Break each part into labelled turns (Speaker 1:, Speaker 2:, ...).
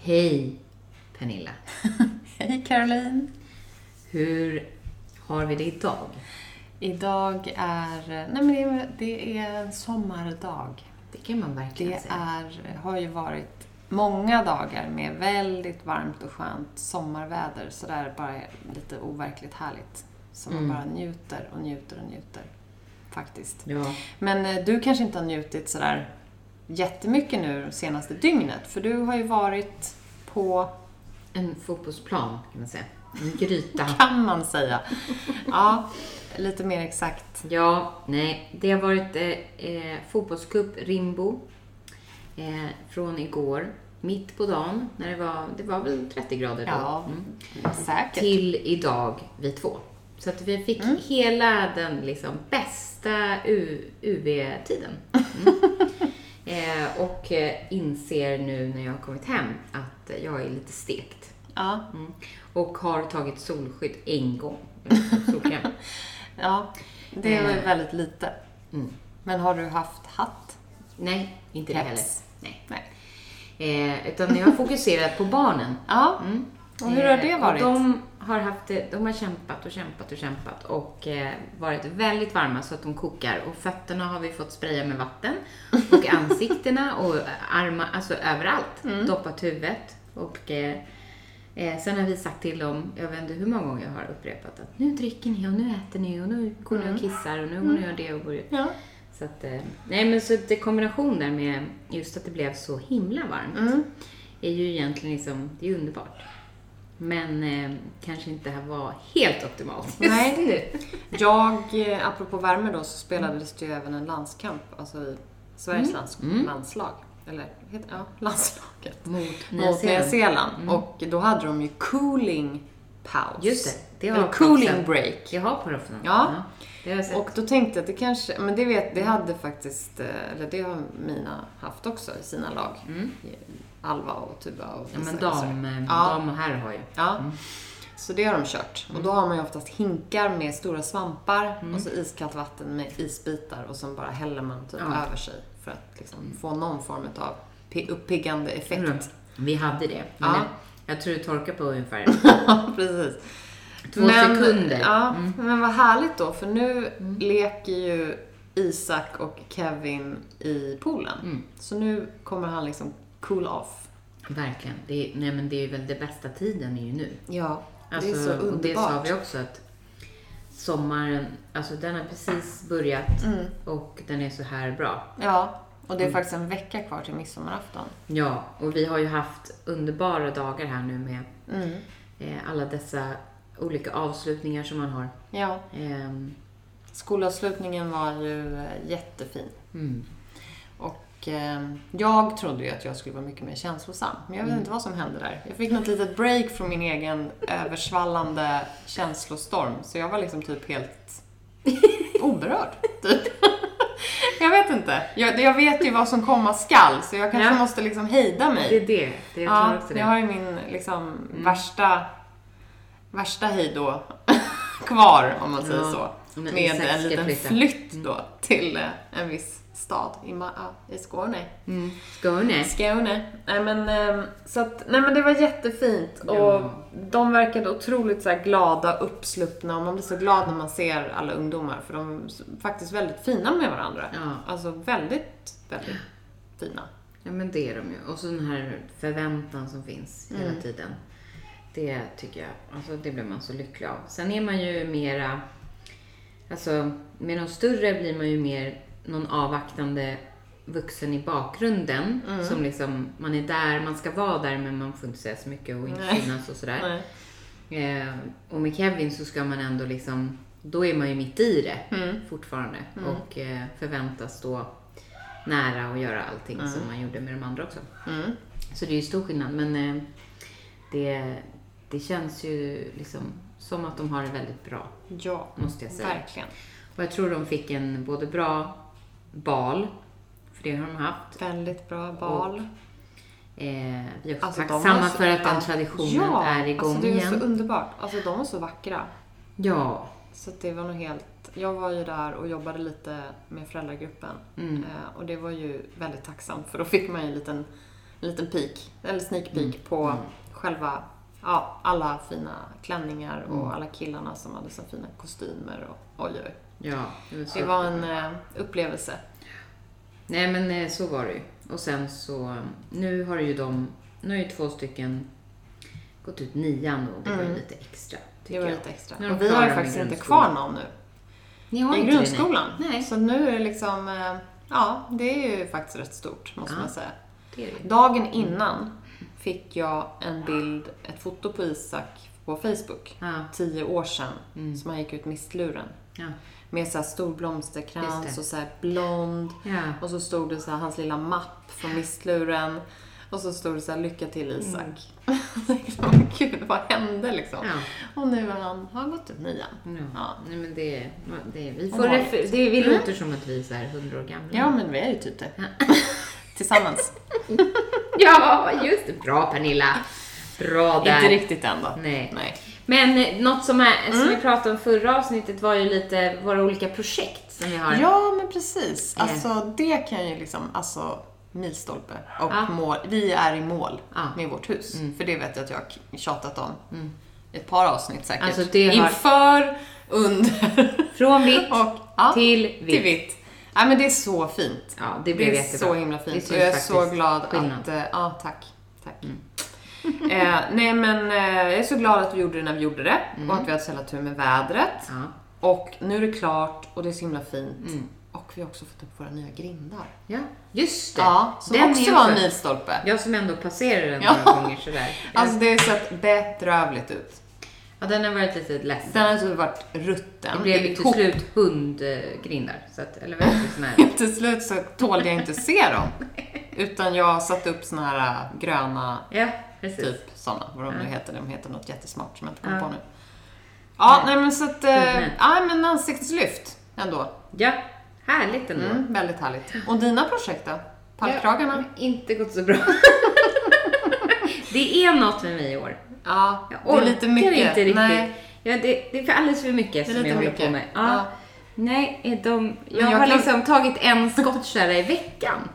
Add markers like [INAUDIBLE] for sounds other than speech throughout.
Speaker 1: Hej Pernilla!
Speaker 2: Hej Caroline!
Speaker 1: Hur har vi det idag?
Speaker 2: Idag är... Nej men det är, det är en sommardag.
Speaker 1: Det kan man verkligen
Speaker 2: Det
Speaker 1: säga.
Speaker 2: är, har ju varit många dagar med väldigt varmt och skönt sommarväder. Så det är bara lite overkligt härligt. Så
Speaker 1: Mm.
Speaker 2: man bara njuter och njuter och njuter. Faktiskt.
Speaker 1: Ja.
Speaker 2: Men eh, du kanske inte har njutit sådär jättemycket nu det senaste dygnet. För du har ju varit på,
Speaker 1: En fotbollsplan kan man säga. En gryta.
Speaker 2: kan
Speaker 1: [LAUGHS]
Speaker 2: man säga. Ja, lite mer exakt.
Speaker 1: Ja, nej. Det har varit eh, eh, fotbollscup Rimbo eh, från igår. Mitt på dagen, när det var, det var väl 30 grader då.
Speaker 2: Ja,
Speaker 1: Mm.
Speaker 2: säkert.
Speaker 1: Till idag vid två. Så att vi fick hela den liksom bästa U- UV-tiden. Mm. eh, och eh, inser nu när jag har kommit hem att eh, jag är lite stekt.
Speaker 2: Ja,
Speaker 1: Mm. Och har tagit solskydd en gång. Solkräm.
Speaker 2: ja. Det var ju väldigt lite.
Speaker 1: Mm.
Speaker 2: Men har du haft hatt?
Speaker 1: Nej, inte det heller.
Speaker 2: Keps.
Speaker 1: Nej.
Speaker 2: Nej.
Speaker 1: Eh, utan jag har fokuserat på barnen.
Speaker 2: Ja.
Speaker 1: Mm.
Speaker 2: Och hur har
Speaker 1: Eh,
Speaker 2: det
Speaker 1: och
Speaker 2: varit?
Speaker 1: De har, haft, det- de har kämpat och kämpat och kämpat och eh, varit väldigt varma så att de kokar. Och fötterna har vi fått spraya med vatten. Och ansiktena och armar, alltså överallt.
Speaker 2: Mm.
Speaker 1: Doppat huvudet. Och eh, eh, sen har vi sagt till dem, jag vet inte hur många gånger jag har upprepat att nu dricker ni och nu äter ni och nu går ni och kissar och nu går ni och det och går
Speaker 2: Mm. Ja.
Speaker 1: så att, eh, nej men så det kombination där med just att det blev så himla varmt
Speaker 2: Mm.
Speaker 1: är ju egentligen liksom, det är ju underbart. Men eh, kanske inte det här var helt optimalt.
Speaker 2: Nej. Jag, eh, apropå värme då, så spelades det ju även en landskamp, alltså i Sveriges
Speaker 1: Mm.
Speaker 2: lands- landslag. Eller, heter, ja, [LAUGHS]
Speaker 1: [LAUGHS]
Speaker 2: landslaget.
Speaker 1: Mot Nya
Speaker 2: Mot Nya
Speaker 1: Zeeland. Mm.
Speaker 2: Zeeland. Och då hade de ju cooling paus.
Speaker 1: Just det, det har
Speaker 2: Eller
Speaker 1: jag
Speaker 2: cooling
Speaker 1: sett.
Speaker 2: break.
Speaker 1: Jag har paraffin.
Speaker 2: Ja.
Speaker 1: Det har jag sett.
Speaker 2: Och då tänkte jag att det kanske, men det vet, det hade faktiskt, eh, eller det har mina haft också i sina lag. Alva och Tuba
Speaker 1: Mm.
Speaker 2: och
Speaker 1: ja, men
Speaker 2: Isak och så.
Speaker 1: dam, Mm. eh,
Speaker 2: Ja.
Speaker 1: dam och herr har ju.
Speaker 2: Ja. Så det har de kört. Och då
Speaker 1: Mm.
Speaker 2: har man ju oftast hinkar med stora svampar och så iskallt vatten med isbitar och sen bara häller man typ
Speaker 1: Ja.
Speaker 2: över sig för att liksom få någon form av uppiggande effekt.
Speaker 1: Mm. Vi hade det. Men
Speaker 2: Ja.
Speaker 1: eh, jag tror det torkar på
Speaker 2: [LAUGHS]
Speaker 1: ungefär
Speaker 2: Ja, precis.
Speaker 1: två sekunder. Mm.
Speaker 2: Ja, men vad härligt då, för nu leker ju Isak och Kevin i poolen.
Speaker 1: Mm,
Speaker 2: Så nu kommer han liksom cool off.
Speaker 1: Verkligen. Det är, nej, men det är ju väl det bästa tiden är ju nu.
Speaker 2: Ja,
Speaker 1: Alltså,
Speaker 2: det är så
Speaker 1: och det sa
Speaker 2: underbart.
Speaker 1: vi också att sommaren, alltså den har precis börjat
Speaker 2: Mm.
Speaker 1: och den är så här bra.
Speaker 2: Ja, och det är faktiskt en vecka kvar till midsommarafton.
Speaker 1: Ja, och vi har ju haft underbara dagar här nu med
Speaker 2: Mm.
Speaker 1: eh, alla dessa olika avslutningar som man har.
Speaker 2: Ja,
Speaker 1: Ehm,
Speaker 2: skolavslutningen var ju eh, jättefin.
Speaker 1: mm.
Speaker 2: Och eh, jag trodde ju att jag skulle vara mycket mer känslosam. Men
Speaker 1: Mm.
Speaker 2: jag vet inte vad som hände där. Jag fick något litet break från min egen översvallande känslostorm. Så jag var liksom
Speaker 1: [LAUGHS]
Speaker 2: typ helt oberörd. Typ. Jag vet inte. Jag, jag vet ju vad som komma skall. Så jag kanske
Speaker 1: Ja.
Speaker 2: måste liksom hejda
Speaker 1: Det
Speaker 2: mig.
Speaker 1: är det, det jag tror
Speaker 2: Ja,
Speaker 1: också det. Mm.
Speaker 2: jag har ju min liksom värsta, värsta hejdå [LAUGHS] kvar om man säger
Speaker 1: Ja,
Speaker 2: så.
Speaker 1: om en
Speaker 2: Med
Speaker 1: insekt
Speaker 2: en
Speaker 1: ska
Speaker 2: liten
Speaker 1: flytta.
Speaker 2: flytt då
Speaker 1: Mm.
Speaker 2: till eh, en viss stad i, Ma- ja, i Skåne.
Speaker 1: Mm. Skåne.
Speaker 2: Skåne. Nej men, ehm, så att, nej men det var jättefint och de verkade otroligt så här glada, uppsluppna och man blir så glad när man ser alla ungdomar för de är s- faktiskt väldigt fina med varandra.
Speaker 1: Ja.
Speaker 2: Alltså väldigt, väldigt fina.
Speaker 1: Ja men det är de ju. Och så den här förväntan som finns hela
Speaker 2: Mm.
Speaker 1: tiden. Det tycker jag, alltså det blir man så lycklig av. Sen är man ju mera, alltså med de större blir man ju mer någon avvaktande vuxen i bakgrunden.
Speaker 2: Mm.
Speaker 1: Som liksom, man är där, man ska vara där men man får inte säga så mycket och inte
Speaker 2: Nej.
Speaker 1: synas och sådär.
Speaker 2: Nej.
Speaker 1: Eh, och med Kevin så ska man ändå liksom, då är man ju mitt i det
Speaker 2: Mm.
Speaker 1: fortfarande. Och eh, förväntas stå
Speaker 2: Mm.
Speaker 1: nära och göra allting som man gjorde med de andra också. Så det är ju stor skillnad. Men eh, det, det känns ju liksom som att de har det väldigt bra,
Speaker 2: Ja,
Speaker 1: måste jag säga.
Speaker 2: verkligen.
Speaker 1: Och jag tror de fick en både bra bal, för det har de haft.
Speaker 2: Väldigt bra bal.
Speaker 1: Eh, vi är också
Speaker 2: Alltså, de var
Speaker 1: tacksamma
Speaker 2: så-
Speaker 1: för att den
Speaker 2: ja.
Speaker 1: traditionen
Speaker 2: ja,
Speaker 1: är igång
Speaker 2: alltså, det är
Speaker 1: igen.
Speaker 2: så underbart. Alltså de var så vackra.
Speaker 1: Ja,
Speaker 2: Så att det var nog helt... Jag var ju där och jobbade lite med föräldragruppen.
Speaker 1: Mm.
Speaker 2: Eh, och det var ju väldigt tacksamt för då fick man ju en liten, en liten peak, eller sneak peek
Speaker 1: Mm.
Speaker 2: på själva, ja, alla fina klänningar och
Speaker 1: Mm.
Speaker 2: alla killarna som hade så fina kostymer och oj, oj.
Speaker 1: ja. Det var, så.
Speaker 2: Det var en eh, upplevelse.
Speaker 1: Nej, men eh, så var det ju. Och sen så, nu har ju de, nu har ju två stycken gått ut nian och det var ju lite extra,
Speaker 2: Mm. Det
Speaker 1: tycker
Speaker 2: var
Speaker 1: jag.
Speaker 2: lite extra.
Speaker 1: När de
Speaker 2: Och vi har ju
Speaker 1: klarar
Speaker 2: faktiskt
Speaker 1: med
Speaker 2: inte
Speaker 1: grundskolan.
Speaker 2: kvar någon nu.
Speaker 1: Ni har
Speaker 2: I
Speaker 1: inte det, nej.
Speaker 2: grundskolan.
Speaker 1: Nej,
Speaker 2: Så nu är det liksom, eh, ja, det är ju faktiskt rätt stort,
Speaker 1: Ah.
Speaker 2: måste man säga.
Speaker 1: det är det.
Speaker 2: Dagen innan fick jag en bild, ett foto på Isak på Facebook.
Speaker 1: Ja,
Speaker 2: Tio år sedan, som han gick ut mistluren.
Speaker 1: ja,
Speaker 2: Med så här stor blomsterkrans
Speaker 1: Just det.
Speaker 2: och så här blond.
Speaker 1: ja.
Speaker 2: Och så stod det så här, hans lilla mapp från mistluren. Och så stod det så här, lycka till Isak. [LAUGHS] Mm. Gud, vad hände liksom?
Speaker 1: ja.
Speaker 2: Och nu har han, har han gått ut nian.
Speaker 1: Ja.
Speaker 2: Ja.
Speaker 1: Nej, men det, det, vi,
Speaker 2: Vad
Speaker 1: får
Speaker 2: vanligt.
Speaker 1: refer- det, vi låter som att vi är så här 100 år gamla.
Speaker 2: Ja, men vi är ju typ det. [LAUGHS] Tillsammans.
Speaker 1: [LAUGHS] Ja, just det. Bra Pernilla. Bra där.
Speaker 2: Inte riktigt Mm. än då.
Speaker 1: Nej.
Speaker 2: Nej.
Speaker 1: Men eh, något som, är, som vi pratade om förra avsnittet var ju lite våra olika projekt som vi har.
Speaker 2: Ja, men precis.
Speaker 1: Eh.
Speaker 2: Alltså det kan ju liksom, alltså milstolpe och
Speaker 1: Ja. Mm.
Speaker 2: mål. Vi är i mål
Speaker 1: Ja.
Speaker 2: med vårt hus. För det vet jag att jag har tjatat om i ett par avsnitt säkert.
Speaker 1: Mm. Alltså, det har-
Speaker 2: Inför, under
Speaker 1: [LAUGHS] Från vitt
Speaker 2: [LAUGHS] och ja,
Speaker 1: till vitt.
Speaker 2: till vitt. Nej men det är så fint.
Speaker 1: Ja, det
Speaker 2: Det är
Speaker 1: blev jättebra.
Speaker 2: så himla
Speaker 1: Det
Speaker 2: fint.
Speaker 1: syns
Speaker 2: Och jag är så
Speaker 1: faktiskt
Speaker 2: glad
Speaker 1: skillnad. Mm.
Speaker 2: att... eh, Ja, tack. tack. [LAUGHS] eh, nej men eh, jag är så glad att vi gjorde det när vi gjorde det.
Speaker 1: Mm.
Speaker 2: Och att vi hade så jävla tur med vädret.
Speaker 1: Ja,
Speaker 2: Och nu är det klart och det är så himla fint.
Speaker 1: Mm.
Speaker 2: Och vi har också fått upp våra nya grindar.
Speaker 1: ja, just det.
Speaker 2: Ja, som
Speaker 1: Den
Speaker 2: också
Speaker 1: är
Speaker 2: var en
Speaker 1: också-
Speaker 2: milstolpe.
Speaker 1: Jag som ändå passerar den
Speaker 2: Ja.
Speaker 1: några gånger sådär.
Speaker 2: Alltså det har sett bedrövligt ut.
Speaker 1: Ja, den har varit lite ledsen.
Speaker 2: Den har typ varit rutten.
Speaker 1: Det blev ju till
Speaker 2: ihop.
Speaker 1: slut hundgrindar. Så att, eller vad heter det? Sån här.
Speaker 2: [LAUGHS] Till slut så tålde jag inte se
Speaker 1: [LAUGHS]
Speaker 2: dem. Utan jag satte upp såna här äh, gröna,
Speaker 1: Ja, precis.
Speaker 2: typ såna, vad de nu heter. De heter något jättesmart som jag inte kommer
Speaker 1: Mm. Ja.
Speaker 2: på nu. Ja, nej men så att, eh,
Speaker 1: Mm.
Speaker 2: ja men ansiktslyft ändå.
Speaker 1: Ja, härligt ändå.
Speaker 2: Mm, väldigt härligt. Och dina projekt då? Parkkragarna?
Speaker 1: Ja, inte gått så bra. [LAUGHS] det är något med mig i år.
Speaker 2: Ja,
Speaker 1: Jag
Speaker 2: det är lite
Speaker 1: orkar
Speaker 2: mycket.
Speaker 1: inte riktigt.
Speaker 2: Nej,
Speaker 1: Ja, det, det är för alldeles för mycket
Speaker 2: Det är
Speaker 1: som
Speaker 2: lite
Speaker 1: jag håller på
Speaker 2: mycket.
Speaker 1: med. Ja.
Speaker 2: Ja.
Speaker 1: Nej, är de, jag,
Speaker 2: jag
Speaker 1: har
Speaker 2: kan-
Speaker 1: liksom tagit en skottkärra i
Speaker 2: [LAUGHS]
Speaker 1: veckan.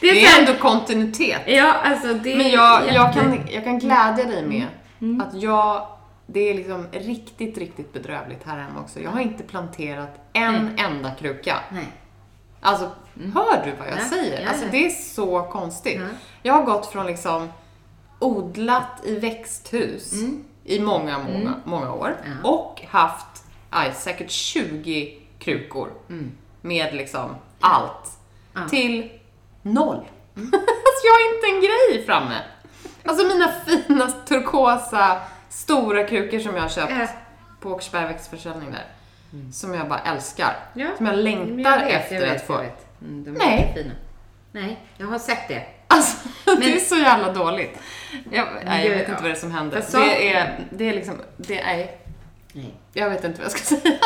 Speaker 1: det är,
Speaker 2: det
Speaker 1: så
Speaker 2: är
Speaker 1: här,
Speaker 2: ändå kontinuitet.
Speaker 1: Ja, alltså det
Speaker 2: Men
Speaker 1: är
Speaker 2: jag,
Speaker 1: jätte-
Speaker 2: jag, kan, jag kan glädja dig med
Speaker 1: Mm.
Speaker 2: att jag, det är liksom riktigt, riktigt bedrövligt här hemma också. Jag har inte planterat en enda kruka.
Speaker 1: Nej. Mm.
Speaker 2: Alltså, hör du vad jag
Speaker 1: Ja,
Speaker 2: säger?
Speaker 1: ja,
Speaker 2: Alltså
Speaker 1: ja.
Speaker 2: det är så konstigt.
Speaker 1: Ja.
Speaker 2: Jag har gått från liksom odlat i växthus i många, många, många år
Speaker 1: Mm. Ja.
Speaker 2: och haft aj, säkert 20 krukor med liksom allt
Speaker 1: Mm. Ja. Mm.
Speaker 2: till noll. [LAUGHS] alltså jag har inte en grej framme. Alltså mina fina turkosa stora krukor som jag har köpt
Speaker 1: Ja. Mm.
Speaker 2: på Åkersberga växtförsäljning där. Som jag bara älskar.
Speaker 1: Ja.
Speaker 2: Som jag längtar
Speaker 1: Men Mm, jag vet,
Speaker 2: efter
Speaker 1: jag vet,
Speaker 2: att få.
Speaker 1: jag vet. Mm, de är
Speaker 2: Nej.
Speaker 1: Nej. fina. Nej, jag har sett det.
Speaker 2: Alltså, [LAUGHS] det
Speaker 1: Men-
Speaker 2: är så jävla dåligt. Jag, nej, jag
Speaker 1: Ja,
Speaker 2: vet
Speaker 1: ja.
Speaker 2: inte vad det är som händer.
Speaker 1: Fast saken-
Speaker 2: Det är, det är liksom, det är,
Speaker 1: Nej.
Speaker 2: jag vet inte vad jag ska [LAUGHS] säga.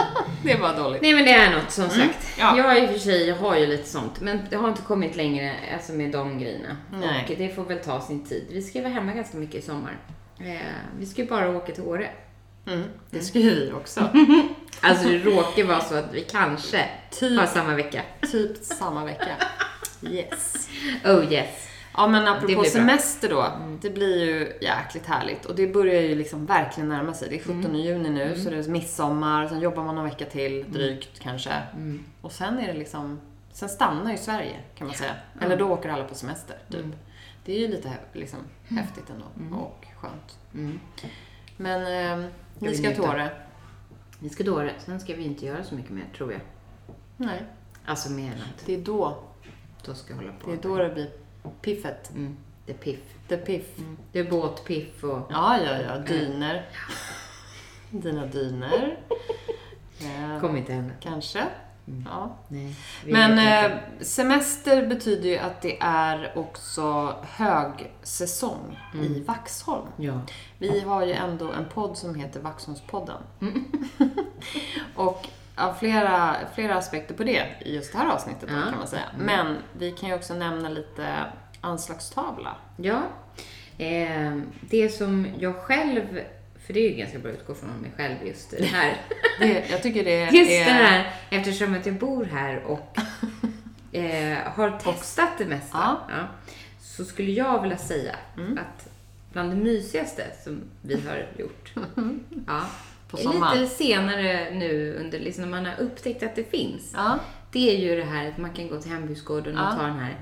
Speaker 2: Det är bara dåligt.
Speaker 1: Nej men det är något som
Speaker 2: Mm.
Speaker 1: sagt.
Speaker 2: ja.
Speaker 1: Jag i och för sig har ju lite sånt men det har inte kommit längre alltså med de grejerna.
Speaker 2: Nej.
Speaker 1: Och det får väl ta sin tid. Vi ska ju vara hemma ganska mycket i sommar. Eh, vi ska ju bara åka till Åre.
Speaker 2: Mm. Det ska ju vi [LAUGHS] också.
Speaker 1: Alltså det råkar vara så att vi kanske
Speaker 2: Typ.
Speaker 1: har samma vecka.
Speaker 2: typ samma vecka. Yes.
Speaker 1: Oh yes.
Speaker 2: Ja men
Speaker 1: blir
Speaker 2: apropå
Speaker 1: bra.
Speaker 2: semester då. Det blir ju jäkligt härligt och det börjar ju liksom verkligen närma sig. Det är 17 juni nu så det är midsommar, sen jobbar man någon vecka till drygt kanske. Och sen är det liksom, sen stannar ju Sverige kan man säga. Eller då åker alla på semester typ. Det är ju lite hä- liksom, häftigt ändå och skönt.
Speaker 1: Mm.
Speaker 2: Men eh, ni
Speaker 1: blir
Speaker 2: ska till
Speaker 1: nytta.
Speaker 2: Åre?
Speaker 1: Vi ska till Åre. Sen ska vi inte göra så mycket mer tror jag.
Speaker 2: Nej.
Speaker 1: Alltså mer än att
Speaker 2: Det är då,
Speaker 1: då ska jag hålla på.
Speaker 2: det är då det blir piffet.
Speaker 1: Mm, det är piff.
Speaker 2: The piff.
Speaker 1: Det är båtpiff och...
Speaker 2: Ja, ja, ja. Dyner. [LAUGHS] Dina dyner. Eh,
Speaker 1: Kommer inte hända.
Speaker 2: kanske. Ja.
Speaker 1: Nej, vi
Speaker 2: Men
Speaker 1: vet inte.
Speaker 2: eh, semester betyder ju att det är också högsäsong i Vaxholm.
Speaker 1: Ja.
Speaker 2: Vi har ju ändå en podd som heter Vaxholmspodden. [LAUGHS] och ja, flera, flera aspekter på det i just det här avsnittet då,
Speaker 1: Ja.
Speaker 2: kan man säga. Men vi kan ju också nämna lite anslagstavla.
Speaker 1: Ja. Eh, det som jag själv, för det är ju ganska bra att utgå från mig själv just det
Speaker 2: [LAUGHS]
Speaker 1: här.
Speaker 2: [LAUGHS] Det, jag tycker det
Speaker 1: Just det
Speaker 2: är...
Speaker 1: här, eftersom att jag bor här
Speaker 2: [LAUGHS]
Speaker 1: och eh, har testat det mesta.
Speaker 2: Ja. Mm.
Speaker 1: Ja, så skulle jag vilja säga att bland det mysigaste som vi har gjort.
Speaker 2: [LAUGHS]
Speaker 1: ja,
Speaker 2: På
Speaker 1: är
Speaker 2: sommaren.
Speaker 1: lite senare nu under, liksom, när man har upptäckt att det finns.
Speaker 2: Ja,
Speaker 1: Det är ju det här att man kan gå till hembygdsgården och
Speaker 2: Ja.
Speaker 1: ta den här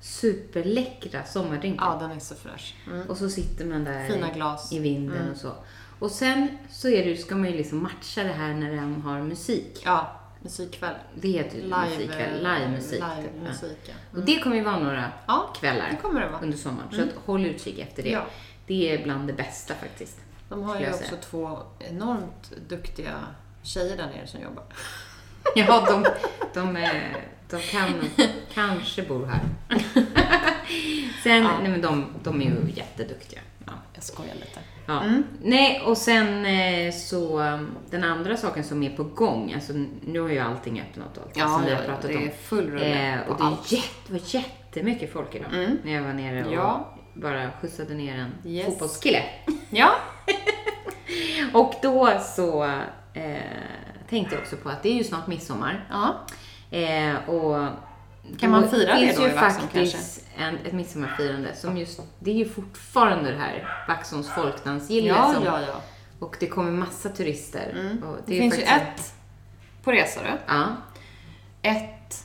Speaker 1: superläckra sommardrinken.
Speaker 2: ja, den är så fräsch. Mm.
Speaker 1: Och så sitter man där
Speaker 2: Fina Mm. glas.
Speaker 1: i vinden och så. Och sen så är det, ju- ska man ju liksom matcha det här när de har musik.
Speaker 2: Ja, musikkväll.
Speaker 1: Det heter ju
Speaker 2: Live, eh,
Speaker 1: musikkväll, livemusik.
Speaker 2: Live
Speaker 1: typ.
Speaker 2: musik, ja.
Speaker 1: Ja. Och det kommer ju vara några
Speaker 2: Ja,
Speaker 1: kvällar
Speaker 2: det kommer det vara.
Speaker 1: under sommaren. Så att håll utkik efter det.
Speaker 2: Mm. Ja.
Speaker 1: Det är bland det bästa faktiskt. [LAUGHS]
Speaker 2: De har
Speaker 1: skulle
Speaker 2: ju
Speaker 1: jag
Speaker 2: också
Speaker 1: säga.
Speaker 2: två enormt duktiga tjejer där nere som jobbar.
Speaker 1: Ja, de, de, eh, de kan, kanske bor här. [LAUGHS] Sen, nej men de, de är ju jätteduktiga. Ja.
Speaker 2: Jag skojar lite.
Speaker 1: Ja.
Speaker 2: Mm.
Speaker 1: Nej, och sen eh, så um, den andra saken som är på gång, alltså nu har ju allting öppnat och allt
Speaker 2: Ja,
Speaker 1: som vi har
Speaker 2: ja,
Speaker 1: pratat
Speaker 2: det
Speaker 1: om.
Speaker 2: är full rulle
Speaker 1: eh,
Speaker 2: på
Speaker 1: Och det är
Speaker 2: allt. Mm.
Speaker 1: jätte, var jättemycket folk idag när jag var nere och
Speaker 2: Ja.
Speaker 1: bara skjutsade ner en
Speaker 2: Yes.
Speaker 1: fotbollskille.
Speaker 2: Ja,
Speaker 1: Och då så eh, tänkte jag också på att det är ju snart midsommar.
Speaker 2: ja.
Speaker 1: Eh, och
Speaker 2: Kan man fira det
Speaker 1: finns
Speaker 2: då
Speaker 1: ju
Speaker 2: i Vaxholm
Speaker 1: faktiskt en, ett midsommarfirande som just, det är ju fortfarande det här Vaxholms folkdansgille
Speaker 2: ja,
Speaker 1: som Mm.
Speaker 2: ja, ja.
Speaker 1: och det kommer massa turister. Och
Speaker 2: Det,
Speaker 1: är
Speaker 2: finns ju
Speaker 1: faktiskt-
Speaker 2: ett på Resarö,
Speaker 1: Ja,
Speaker 2: ett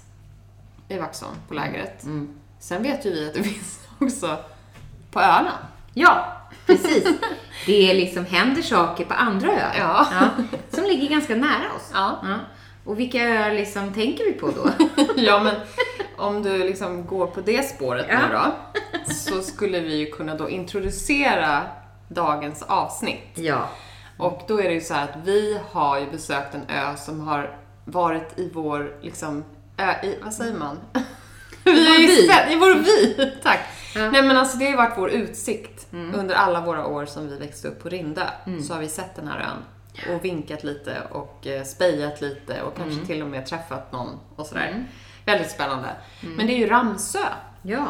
Speaker 2: i Vaxholm på
Speaker 1: Mm.
Speaker 2: lägret. Sen vet ju vi att det [LAUGHS] finns också på öarna.
Speaker 1: ja precis. det är liksom, händer saker på andra öar.
Speaker 2: Ja.
Speaker 1: som ligger ganska nära oss.
Speaker 2: Ja.
Speaker 1: Och vilka öar liksom tänker vi på då?
Speaker 2: [LAUGHS] ja, men om du liksom går på det spåret
Speaker 1: Ja.
Speaker 2: nu då, så skulle vi ju kunna då introducera dagens avsnitt.
Speaker 1: ja.
Speaker 2: Och då är det ju så här att vi har ju besökt en ö som har varit i vår, liksom, ö, i, vad säger man? Vi
Speaker 1: vår
Speaker 2: är ju
Speaker 1: vy.
Speaker 2: spänn- [LAUGHS] I vår vy, [LAUGHS] tack.
Speaker 1: Ja. Mm.
Speaker 2: Nej men alltså det har ju varit vår utsikt. Under alla våra år som vi växte upp på Rindö så har vi sett den här ön. Och vinkat lite och eh, spejat lite och kanske
Speaker 1: Mm.
Speaker 2: till och med träffat någon och sådär. Väldigt spännande.
Speaker 1: Mm.
Speaker 2: Men det är ju Ramsö.
Speaker 1: Ja.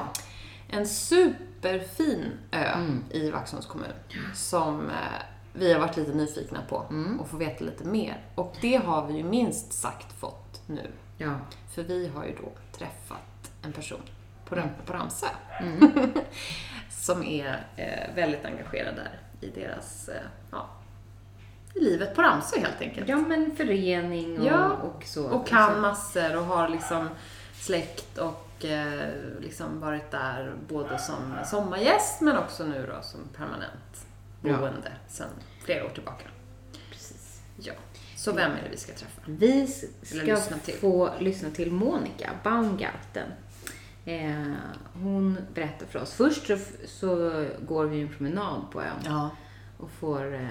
Speaker 2: En superfin ö
Speaker 1: Mm.
Speaker 2: i Vaxholms kommun som eh, vi har varit lite nyfikna på
Speaker 1: Mm.
Speaker 2: och får veta lite mer. Och det har vi ju minst sagt fått nu.
Speaker 1: Ja.
Speaker 2: För vi har ju då träffat en person på, Ram- på Ramsö [LAUGHS] som är eh, väldigt engagerad där i deras, eh, ja, i livet på Ramsö helt enkelt.
Speaker 1: Ja men förening och,
Speaker 2: Ja.
Speaker 1: och så.
Speaker 2: Och kan massor och har liksom släkt och eh, liksom varit där både som sommargäst men också nu då som permanent
Speaker 1: Ja.
Speaker 2: boende sedan flera år tillbaka.
Speaker 1: Precis.
Speaker 2: Ja. Så vem är det vi ska träffa?
Speaker 1: Vi ska
Speaker 2: Eller lyssna till.
Speaker 1: få lyssna till Monica Baumgarten. Eh, hon berättar för oss. Först så, så går vi en promenad på ön.
Speaker 2: Ja.
Speaker 1: och får eh,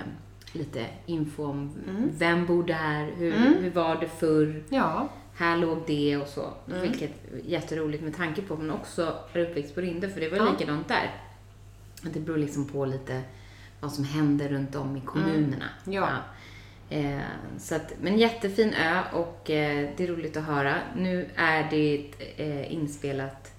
Speaker 1: lite info om vem bor där, hur, hur var det förr,
Speaker 2: Ja.
Speaker 1: här låg det och så.
Speaker 2: Mm.
Speaker 1: Vilket är jätteroligt med tanke på att man också är uppväxt på Rinde, för det var
Speaker 2: Ja.
Speaker 1: likadant där. Att det beror liksom på lite vad som händer runt om i kommunerna.
Speaker 2: Mm. Ja.
Speaker 1: Eh, så att, men jättefin ö och eh, det är roligt att höra. Nu är det eh, inspelat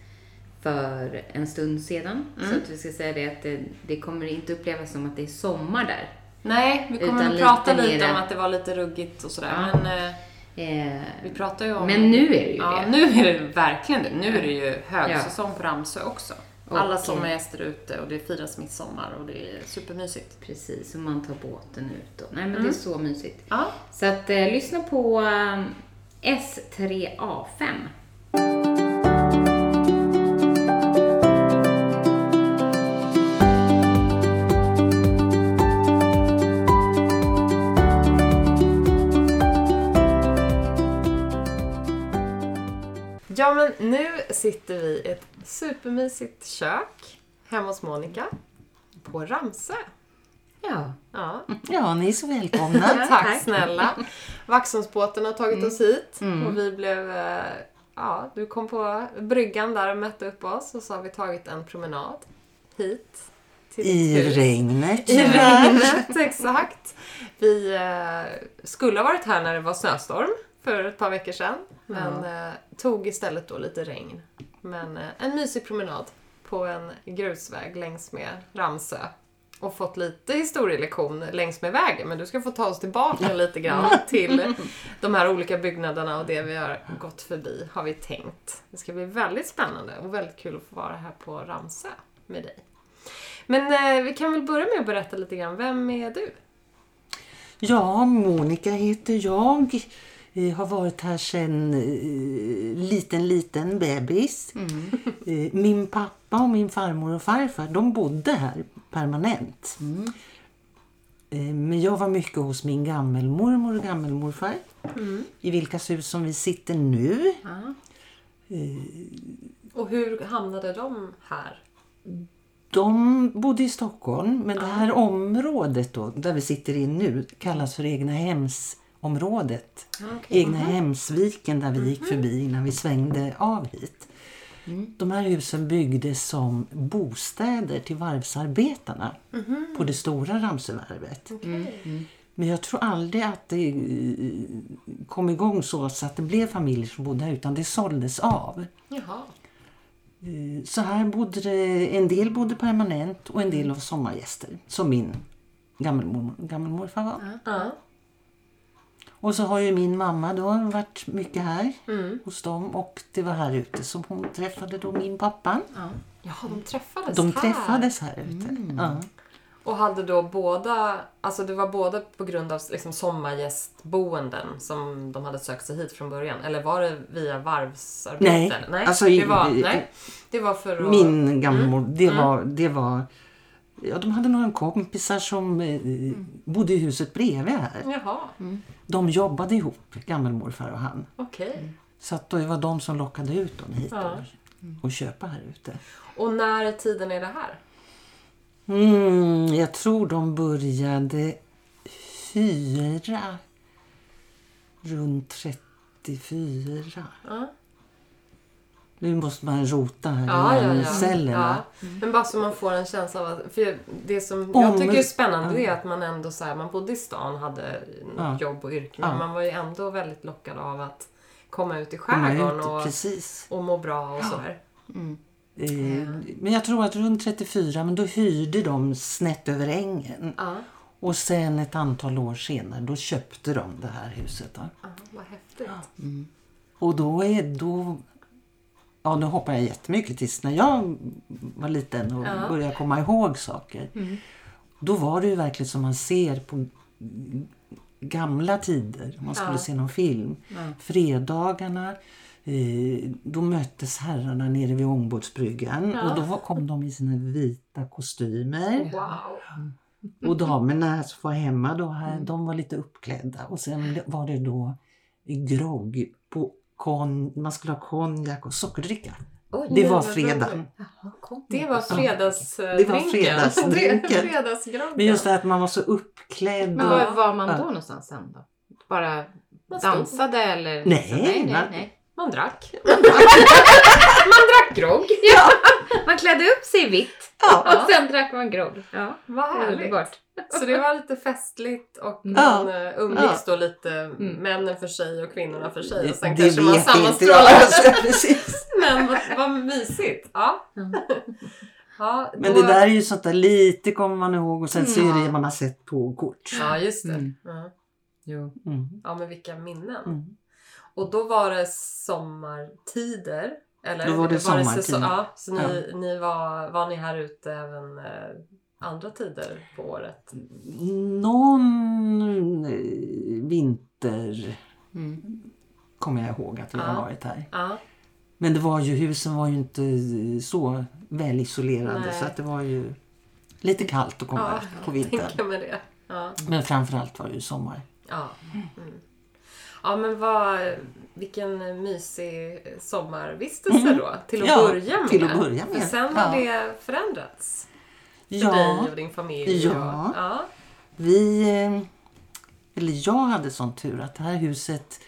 Speaker 1: för en stund sedan.
Speaker 2: Mm.
Speaker 1: Så att vi ska säga det att det, det kommer inte upplevas som att det är sommar där.
Speaker 2: Nej, vi kommer
Speaker 1: Utan
Speaker 2: att prata
Speaker 1: lite
Speaker 2: lite,
Speaker 1: mera-
Speaker 2: om att det var lite ruggigt och sådär.
Speaker 1: Ja.
Speaker 2: Men eh,
Speaker 1: Eh,
Speaker 2: vi pratar ju om...
Speaker 1: men nu är det ju
Speaker 2: ja,
Speaker 1: det.
Speaker 2: nu är det verkligen det. Nu är det ju högsäsong på Ramsö också.
Speaker 1: Och-
Speaker 2: Alla sommargäster är ute och det firas midsommar och det är supermysigt.
Speaker 1: Precis, och man tar båten ut. Och, nej men det är så mysigt.
Speaker 2: Ja.
Speaker 1: Så att eh, lyssna på eh, S3A5.
Speaker 2: Ja, men nu sitter vi i ett supermysigt kök hemma hos Monica på Ramsö.
Speaker 1: Ja.
Speaker 2: Ja.
Speaker 3: Ja, ni är så välkomna.
Speaker 1: [LAUGHS] Ja,
Speaker 2: Tack
Speaker 1: tack.
Speaker 2: snälla. Vaxholmsbåten har tagit oss hit
Speaker 1: Mm.
Speaker 2: och vi blev... eh, Ja, du kom på bryggan där och mötte upp oss och så har vi tagit en promenad hit. Till
Speaker 3: I
Speaker 2: ditt hus.
Speaker 3: regnet.
Speaker 2: I regnet, exakt. Vi eh, skulle ha varit här när det var snöstorm för ett par veckor sedan. Men eh, tog istället då lite regn. Men eh, en mysig promenad på en grusväg längs med Ramsö. Och fått lite historielektion längs med vägen. Men du ska få ta oss tillbaka lite grann till de här olika byggnaderna och det vi har gått förbi, har vi tänkt. Det ska bli väldigt spännande och väldigt kul att få vara här på Ramsö med dig. Men eh, vi kan väl börja med att berätta lite grann. Vem är du?
Speaker 3: Ja, Monica heter jag. Eh, har varit här sedan eh, liten, liten bebis. Eh, min pappa och min farmor och farfar, de bodde här permanent. Eh, men jag var mycket hos min gammelmormor och gammelmorfar. I vilkas hus som vi sitter nu.
Speaker 2: Och hur hamnade de här?
Speaker 3: De bodde i Stockholm, men det här området då, där vi sitter in nu kallas för egna hemsområdet. Egna hemsviken där vi gick förbi innan vi svängde av hit. De här husen byggdes som bostäder till varvsarbetarna på det stora Ramsövarvet. Men jag tror aldrig att det eh, kom igång så så att det blev familjer som bodde här utan det såldes av.
Speaker 2: Jaha.
Speaker 3: Eh, Så här bodde det, en del bodde permanent och en del av sommargäster. Som min gammelmormor, gammelmorfar var.
Speaker 2: Ja.
Speaker 3: Och så har ju min mamma då varit mycket här
Speaker 2: Mm.
Speaker 3: hos dem och det var här ute som hon träffade då min pappa.
Speaker 2: Jaha, de träffades
Speaker 3: De
Speaker 2: här.
Speaker 3: träffades här ute. Ja.
Speaker 2: Och hade då båda, alltså det var både på grund av liksom sommargästboenden som de hade sökt sig hit från början. Eller var det via varvsarbete?
Speaker 3: Nej, alltså i-
Speaker 2: det var, nej. Det var för att...
Speaker 3: Min gammelmor,
Speaker 2: Mm.
Speaker 3: det, var, det var... Ja, de hade några kompisar som eh, bodde i huset bredvid här.
Speaker 2: Jaha,
Speaker 3: De jobbade ihop, gammelmorfar och han.
Speaker 2: okej.
Speaker 3: Så att då det var de som lockade ut dem hit
Speaker 2: Ja.
Speaker 3: då, och köpa här ute.
Speaker 2: Och när i tiden är det här?
Speaker 3: Mm, jag tror de började fyra. Runt 34.
Speaker 2: Ja.
Speaker 3: Nu måste man rota här
Speaker 2: Ja,
Speaker 3: i
Speaker 2: ja, ja.
Speaker 3: cellerna.
Speaker 2: Ja. Men bara så man får en känsla av att, för jag- det som
Speaker 3: Om-
Speaker 2: jag tycker är spännande det är att man ändå så här, man bodde i stan, hade
Speaker 3: Ja.
Speaker 2: jobb och yrke, men
Speaker 3: Ja.
Speaker 2: man var ju ändå väldigt lockad av att komma ut i
Speaker 3: Komma
Speaker 2: skärgården
Speaker 3: ut,
Speaker 2: och,
Speaker 3: precis.
Speaker 2: och må bra och sådär.
Speaker 3: Eh, Men jag tror att runt 34, men då hyrde de snett över ängen.
Speaker 2: Ja.
Speaker 3: Och sen ett antal år senare, då köpte de det här huset. Då.
Speaker 1: Ah,
Speaker 2: ja, vad häftigt.
Speaker 3: Och då är då... Ja, nu hoppar jag jättemycket tills när jag var liten och började komma ihåg saker. Då var det ju verkligen som man ser på gamla tider, om man skulle se någon film. Fredagarna, eh, då möttes herrarna nere vid ångbåtsbryggan och då var- kom de i sina vita kostymer.
Speaker 2: Wow.
Speaker 3: Och damerna som var hemma då, här, de var lite uppklädda. Och sen var det då grogg. På kon, man skulle ha konjak och sockerdricka.
Speaker 1: Oj,
Speaker 3: Det var
Speaker 2: vad
Speaker 3: fredagen.
Speaker 2: roligt.
Speaker 1: Jaha, kom.
Speaker 2: Det var fredagsdrinken.
Speaker 3: Det var
Speaker 2: [LAUGHS]
Speaker 3: fredagsdrinken.
Speaker 2: Fredagsgroggen.
Speaker 3: Men just det här att man var så uppklädd.
Speaker 1: Men
Speaker 3: Och,
Speaker 1: var var man då
Speaker 3: Ja.
Speaker 1: någonstans sen då? Bara
Speaker 2: Man stod.
Speaker 1: dansade eller?
Speaker 3: Nej,
Speaker 1: Så, nej, nej,
Speaker 3: man-
Speaker 1: nej.
Speaker 2: Man drack.
Speaker 1: Drack grogg. Ja. [LAUGHS] Man klädde upp sig i vitt
Speaker 3: ja.
Speaker 1: och sen drack man grogg. Ja,
Speaker 2: Vad härligt.
Speaker 1: underbart.
Speaker 2: Så det var lite festligt och
Speaker 3: Mm. Ja. Mm.
Speaker 2: man eh, umgicks då lite männen för sig och kvinnorna för sig. Och sen kanske man sammanstrålade.
Speaker 3: jag. [LAUGHS] Precis.
Speaker 2: [LAUGHS] Men vad, vad mysigt. Ja.
Speaker 1: Mm.
Speaker 2: [LAUGHS] ja då,
Speaker 3: Men det där är ju sånt där lite kommer man ihåg och sen så är det
Speaker 1: Ja.
Speaker 3: man har sett på kort.
Speaker 2: Mm. Ja, just det.
Speaker 1: Mm.
Speaker 2: Ja.
Speaker 1: Jo.
Speaker 3: Mm.
Speaker 2: ja, men vilka minnen.
Speaker 3: Mm.
Speaker 2: Och då var det sommartider. Eller?
Speaker 3: Då var det
Speaker 2: säsong-
Speaker 3: sommartider.
Speaker 2: Ja, så ni, ni var, var ni här ute även eh, andra tider på året?
Speaker 3: Mm. Någon eh, vinter
Speaker 1: Mm.
Speaker 3: kommer jag ihåg att vi har
Speaker 2: Ja.
Speaker 3: varit här.
Speaker 2: Ja.
Speaker 3: Men det var ju, husen var ju inte så välisolerade
Speaker 2: Nej.
Speaker 3: så att det var ju lite kallt att komma
Speaker 2: Ja,
Speaker 3: på
Speaker 2: jag
Speaker 3: vintern.
Speaker 2: tänker mig det. Ja.
Speaker 3: Men framförallt var det ju sommar.
Speaker 2: Ja. Mm. Ja men vad, vilken mysig sommarvistelse då. Till att
Speaker 3: Mm. Ja,
Speaker 2: börja med.
Speaker 3: till att börja med.
Speaker 2: För sen har
Speaker 3: Ja.
Speaker 2: det förändrats. För
Speaker 3: Ja,
Speaker 2: dig och din familj. och-
Speaker 3: Ja.
Speaker 2: ja.
Speaker 3: vi... eh, Eller jag hade sån tur att det här huset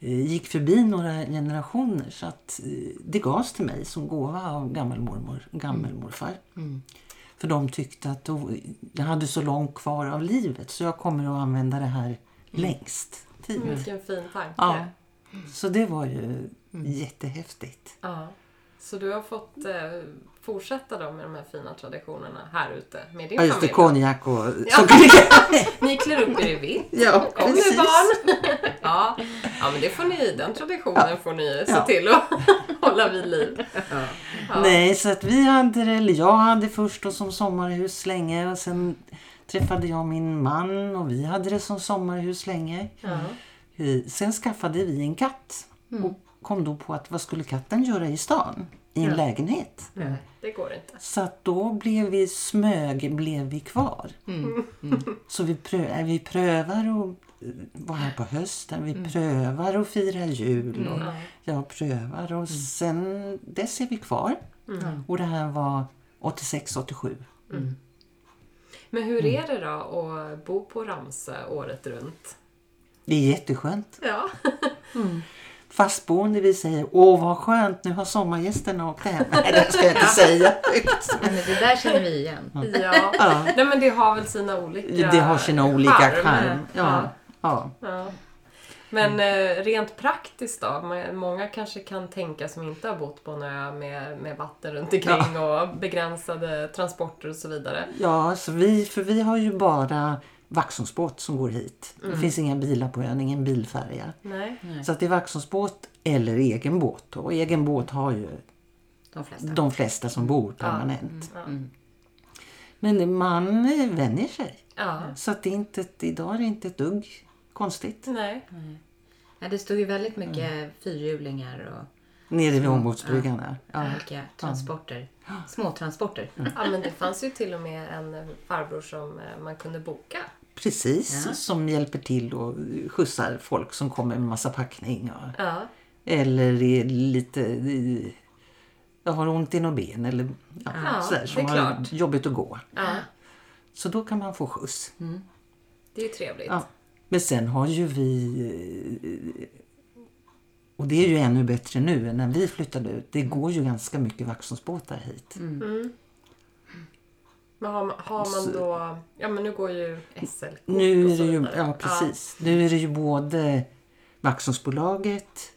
Speaker 3: eh, gick förbi några generationer så att eh, det gavs till mig som gåva av gammelmormor och gammelmorfar.
Speaker 2: Mm.
Speaker 3: För de tyckte att då, jag hade så långt kvar av livet så jag kommer att använda det här längst tid.
Speaker 2: Mm, Vilken fin tanke.
Speaker 3: Ja. Så det var ju
Speaker 2: Mm.
Speaker 3: jättehäftigt.
Speaker 2: Ja. Så du har fått eh, fortsätta då med de här fina traditionerna här ute med din
Speaker 3: Ja, just det,
Speaker 2: familj.
Speaker 3: konjak och
Speaker 2: [LAUGHS]
Speaker 3: sockerkaka. [LAUGHS]
Speaker 2: Ni klär upp er i vitt.
Speaker 3: Ja,
Speaker 2: Kom nu
Speaker 3: precis.
Speaker 2: barn! [LAUGHS] Ja. ja, men det får ni, den traditionen får ni se
Speaker 3: Ja.
Speaker 2: till att [LAUGHS] hålla vid liv. Ja.
Speaker 3: Nej, så att vi hade det, eller jag hade först och som sommarhus länge och sen träffade jag min man och vi hade det som sommarhus länge.
Speaker 2: Ja. Mm.
Speaker 3: Eh, Sen skaffade vi en katt och kom då på att vad skulle katten göra i stan? I en lägenhet.
Speaker 2: Det går inte.
Speaker 3: Så att då blev vi smög, blev vi kvar. Så vi, prö- äh, vi prövar och eh, vara här på hösten, vi prövar att fira jul och jag prövar och sen dess är vi kvar. Och det här var 86-87.
Speaker 2: Men hur
Speaker 3: Mm.
Speaker 2: är det då att bo på Ramsö året runt?
Speaker 3: Det är jätteskönt.
Speaker 2: Ja.
Speaker 3: Fastboende vi säger åh vad skönt, nu har sommargästerna åkt hem. [LAUGHS] Nej, det ska jag inte säga högt.
Speaker 1: Men det där känner vi igen.
Speaker 2: [LAUGHS] ja. Nej men det har väl sina olika
Speaker 3: Det har sina olika
Speaker 2: charmer.
Speaker 3: charm. Ja, ja.
Speaker 2: Ja. Men eh, rent praktiskt då? Ma- Många kanske kan tänka som inte har bott på en ö med, med vatten runt omkring och begränsade transporter och så vidare.
Speaker 3: Ja, så vi, för vi har ju bara Vaxholmsbåt som går hit. Det finns inga bilar på ön, ingen bilfärja.
Speaker 2: Mm. Nej.
Speaker 3: Så att det är Vaxholmsbåt eller egen båt. Och egen båt har ju
Speaker 1: De flesta.
Speaker 3: de flesta som bor permanent.
Speaker 2: Ja. Mm.
Speaker 3: Men man eh, vänjer sig.
Speaker 2: Ja.
Speaker 3: Så att det är inte, ett- idag är det inte ett dugg konstigt.
Speaker 2: Nej.
Speaker 1: Ja, det stod ju väldigt mycket fyrhjulingar och
Speaker 3: Nere vid ångbåtsbryggan där. Ja.
Speaker 1: olika transporter. Småtransporter.
Speaker 2: Ja, men det fanns ju till och med en farbror som eh, man kunde boka.
Speaker 3: Precis, som hjälper till och skjutsar folk som kommer med massa packning. Och...
Speaker 2: Ja.
Speaker 3: Eller är lite... i- Jag har ont i något ben eller ja,
Speaker 2: Ja,
Speaker 3: sådär, som
Speaker 2: det är
Speaker 3: har
Speaker 2: klart.
Speaker 3: jobbigt att gå.
Speaker 2: ja. Mm.
Speaker 3: Så då kan man få skjuts.
Speaker 2: Det är ju trevligt.
Speaker 3: Ja. Men sen har ju vi... eh, Och det är ju ännu bättre nu än när vi flyttade ut. Det går ju ganska mycket Vaxholmsbåtar hit.
Speaker 2: Mm. Men har, man- har man då... Ja men nu går ju SL-kort
Speaker 3: Nu
Speaker 2: och
Speaker 3: är
Speaker 2: så
Speaker 3: det ju...
Speaker 2: vidare.
Speaker 3: Ja, precis. Nu är det ju både Vaxholmsbolaget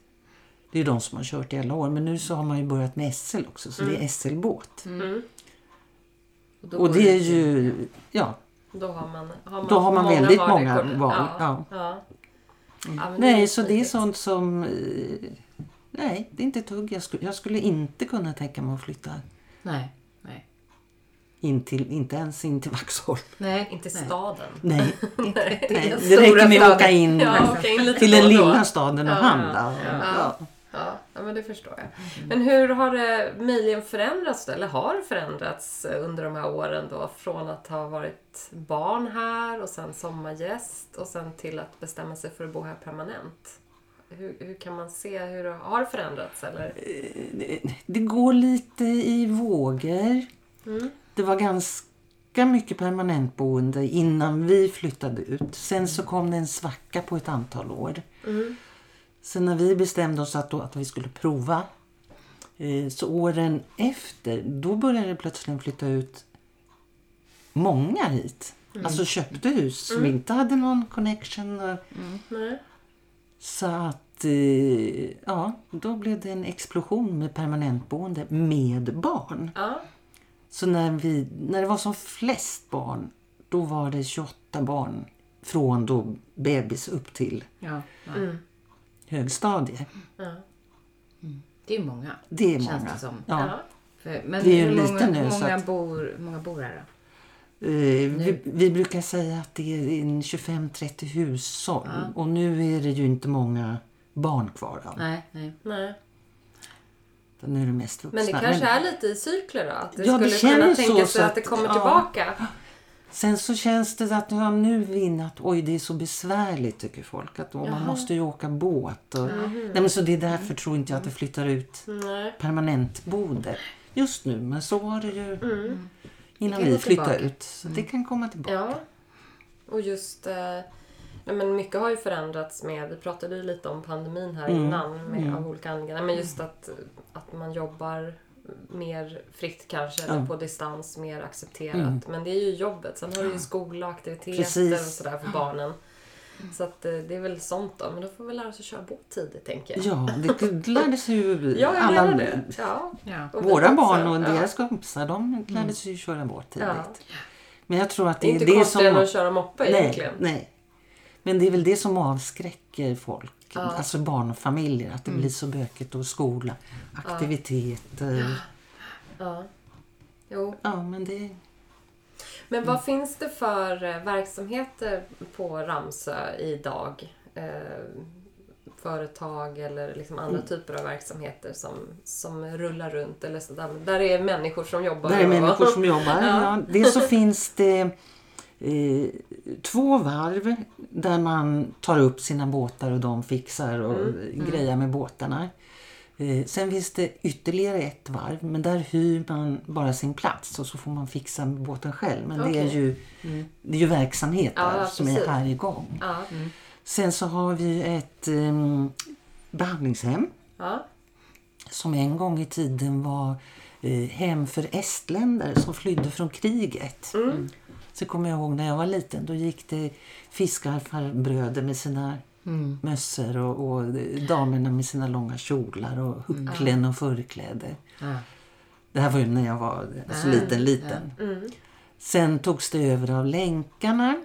Speaker 3: det är ju de som har kört i alla år, men nu så har man ju börjat med SL också, så
Speaker 2: Mm.
Speaker 3: det är SL-båt.
Speaker 1: då
Speaker 3: Och
Speaker 1: går
Speaker 3: det är ju, ja,
Speaker 2: Ja, Då har man, har man,
Speaker 3: Då har man
Speaker 2: många
Speaker 3: väldigt
Speaker 2: varor
Speaker 3: många
Speaker 2: kvar.
Speaker 3: val,
Speaker 2: Ja.
Speaker 3: ja. Mm.
Speaker 2: ja. Ja, men
Speaker 3: Nej, så det är
Speaker 2: trevligt.
Speaker 3: sånt som... eh, Nej, det är inte ett hugg. Jag skulle, jag skulle inte kunna tänka mig att flytta
Speaker 1: Nej. Nej.
Speaker 3: in till, inte ens in till Vaxholm.
Speaker 1: Nej.
Speaker 2: Inte
Speaker 1: nej.
Speaker 2: staden.
Speaker 3: Nej, nej.
Speaker 1: den
Speaker 3: det räcker
Speaker 1: stora
Speaker 3: med att åka
Speaker 1: staden.
Speaker 3: in
Speaker 2: Ja, åka in lite
Speaker 3: till
Speaker 2: då
Speaker 3: den
Speaker 2: och då.
Speaker 3: lilla staden och
Speaker 2: Ja,
Speaker 3: handla.
Speaker 2: ja.
Speaker 3: Ja.
Speaker 2: Ja, ja, men det förstår jag. Men hur har det möjligen förändrats då, eller har det förändrats eh, under de här åren då? Från att ha varit barn här och sen sommargäst och sen till att bestämma sig för att bo här permanent. Hur, hur kan man se, hur har det förändrats eller?
Speaker 3: Det går lite i vågor. Det var ganska mycket permanentboende innan vi flyttade ut. Sen så kom det en svacka på ett antal år. Sen när vi bestämde oss att, då, att vi skulle prova, eh, så åren efter, då började det plötsligt flytta ut många hit. Alltså köpte hus som inte hade någon connection. Och,
Speaker 2: Nej.
Speaker 3: så att, eh, ja, då blev det en explosion med permanentboende med barn.
Speaker 2: Ja,
Speaker 3: Så när, vi, när det var som flest barn, då var det 28 barn från då bebis upp till
Speaker 1: Ja. ja.
Speaker 3: högstadie.
Speaker 1: Det är ju många.
Speaker 3: Det är
Speaker 1: Känns
Speaker 3: många.
Speaker 1: det som.
Speaker 3: Ja.
Speaker 2: ja.
Speaker 1: För- Men
Speaker 3: Det är ju
Speaker 1: hur
Speaker 3: lite
Speaker 1: många,
Speaker 3: nu, så
Speaker 1: många,
Speaker 3: att-
Speaker 1: bor, många bor här då?
Speaker 3: Eh, vi, vi brukar säga att det är en 25-30 hushåll och nu är det ju inte många barn kvar. Av.
Speaker 1: Nej, nej.
Speaker 2: Nej.
Speaker 3: Nu är det mest vuxna.
Speaker 2: Men det kanske är lite i cykler då? Att det
Speaker 3: Ja, det
Speaker 2: skulle kunna
Speaker 3: känns
Speaker 2: tänka sig
Speaker 3: så, så
Speaker 2: att,
Speaker 3: att-
Speaker 2: det kommer
Speaker 3: ja.
Speaker 2: tillbaka?
Speaker 3: Sen så känns det att ja, nu vinner att oj det är så besvärligt tycker folk. Att, och man måste ju åka båt. Och,
Speaker 2: Mm.
Speaker 3: nej, men så det är därför tror inte jag att det flyttar ut
Speaker 2: Nej.
Speaker 3: permanentboende just nu. Men så var det ju innan
Speaker 2: Mm. kan
Speaker 3: vi
Speaker 2: gå
Speaker 3: flyttade
Speaker 2: tillbaka.
Speaker 3: ut. Så det kan komma tillbaka.
Speaker 2: Ja. Och just... Eh, nej men mycket har ju förändrats med... Vi pratade ju lite om pandemin här
Speaker 3: Mm.
Speaker 2: innan med, av olika anledningar. Men just att, att man jobbar mer fritt kanske, eller på distans, mer accepterat. Men det är ju jobbet. Sen har du ju skola, aktiviteter och
Speaker 3: Mm. Precis.
Speaker 2: sådär för barnen. Så att eh, det är väl sånt då. Men då får vi lära oss att köra båt tidigt tänker jag.
Speaker 3: Ja,
Speaker 2: [LAUGHS]
Speaker 3: det det lärde sig ju
Speaker 2: Ja, jag
Speaker 3: alla.
Speaker 2: menar det. Ja.
Speaker 1: Ja.
Speaker 2: Och vi
Speaker 3: Våra
Speaker 2: också.
Speaker 3: barn och
Speaker 2: Ja. Mm.
Speaker 3: deras kompisar, de lärde sig ju köra båt tidigt.
Speaker 2: Ja.
Speaker 3: Men jag tror att
Speaker 2: Det är
Speaker 3: det,
Speaker 2: inte
Speaker 3: är det
Speaker 2: konstigare än
Speaker 3: som...
Speaker 2: att köra moppe
Speaker 3: Nej,
Speaker 2: egentligen.
Speaker 3: nej. Men det är väl det som avskräcker folk. Alltså barn och familjer. Att det blir så bökigt och skola, aktiviteter.
Speaker 2: Ja. Jo.
Speaker 3: Ja, men det...
Speaker 2: Men vad finns det för eh, verksamheter på Ramsö idag? Eh, företag eller liksom andra
Speaker 3: Mm.
Speaker 2: typer av verksamheter som, som rullar runt eller sådär. Men Där är människor som jobbar.
Speaker 3: Där är
Speaker 2: och-
Speaker 3: människor som
Speaker 2: [LAUGHS]
Speaker 3: jobbar.
Speaker 2: Ja.
Speaker 3: Ja. Dels så finns det eh, två varv där man tar upp sina båtar och de fixar och
Speaker 2: Mm.
Speaker 3: grejer med båtarna. Eh, sen finns det ytterligare ett varv men där hyr man bara sin plats och så får man fixa med båten själv. Men det, är
Speaker 2: Okej. Mm.
Speaker 3: ju, det är ju verksamhet
Speaker 2: Ja,
Speaker 3: där som är
Speaker 2: precis.
Speaker 3: här igång.
Speaker 2: Ja.
Speaker 3: Sen så har vi ett eh, behandlingshem
Speaker 2: Ja.
Speaker 3: som en gång i tiden var eh, hem för estländare som flydde från kriget.
Speaker 2: Mm.
Speaker 3: Så kommer jag ihåg när jag var liten, då gick det fiskarfarbröder med sina mössor och, och damerna med sina långa kjolar och hucklen och förkläde.
Speaker 1: Ja.
Speaker 3: Det här var ju när jag var alltså, liten, liten.
Speaker 2: Mm.
Speaker 3: Sen togs det över av länkarna,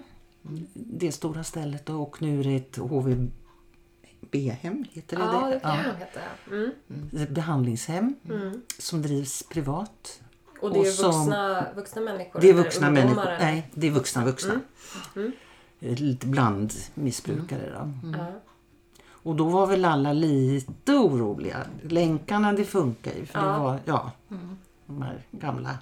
Speaker 3: det stora stället då, och nu är det ett HVB-hem, heter det
Speaker 2: ja,
Speaker 3: det?
Speaker 2: det kan
Speaker 3: Ja
Speaker 2: det nog heta. ja. Mm.
Speaker 3: ett behandlingshem som drivs privat.
Speaker 2: Och det är
Speaker 3: Och som-
Speaker 2: vuxna, vuxna människor?
Speaker 3: Det är
Speaker 2: eller
Speaker 3: vuxna
Speaker 2: ungdomar,
Speaker 3: människor.
Speaker 2: eller? Mm.
Speaker 3: Nej, det är vuxna vuxna. Eh, Lite bland missbrukare
Speaker 2: Mm.
Speaker 3: då.
Speaker 2: Ja.
Speaker 3: Och då var väl alla lite oroliga. Länkarna det funkar ju för det
Speaker 2: Ja. Mm.
Speaker 3: var ja, de här gamla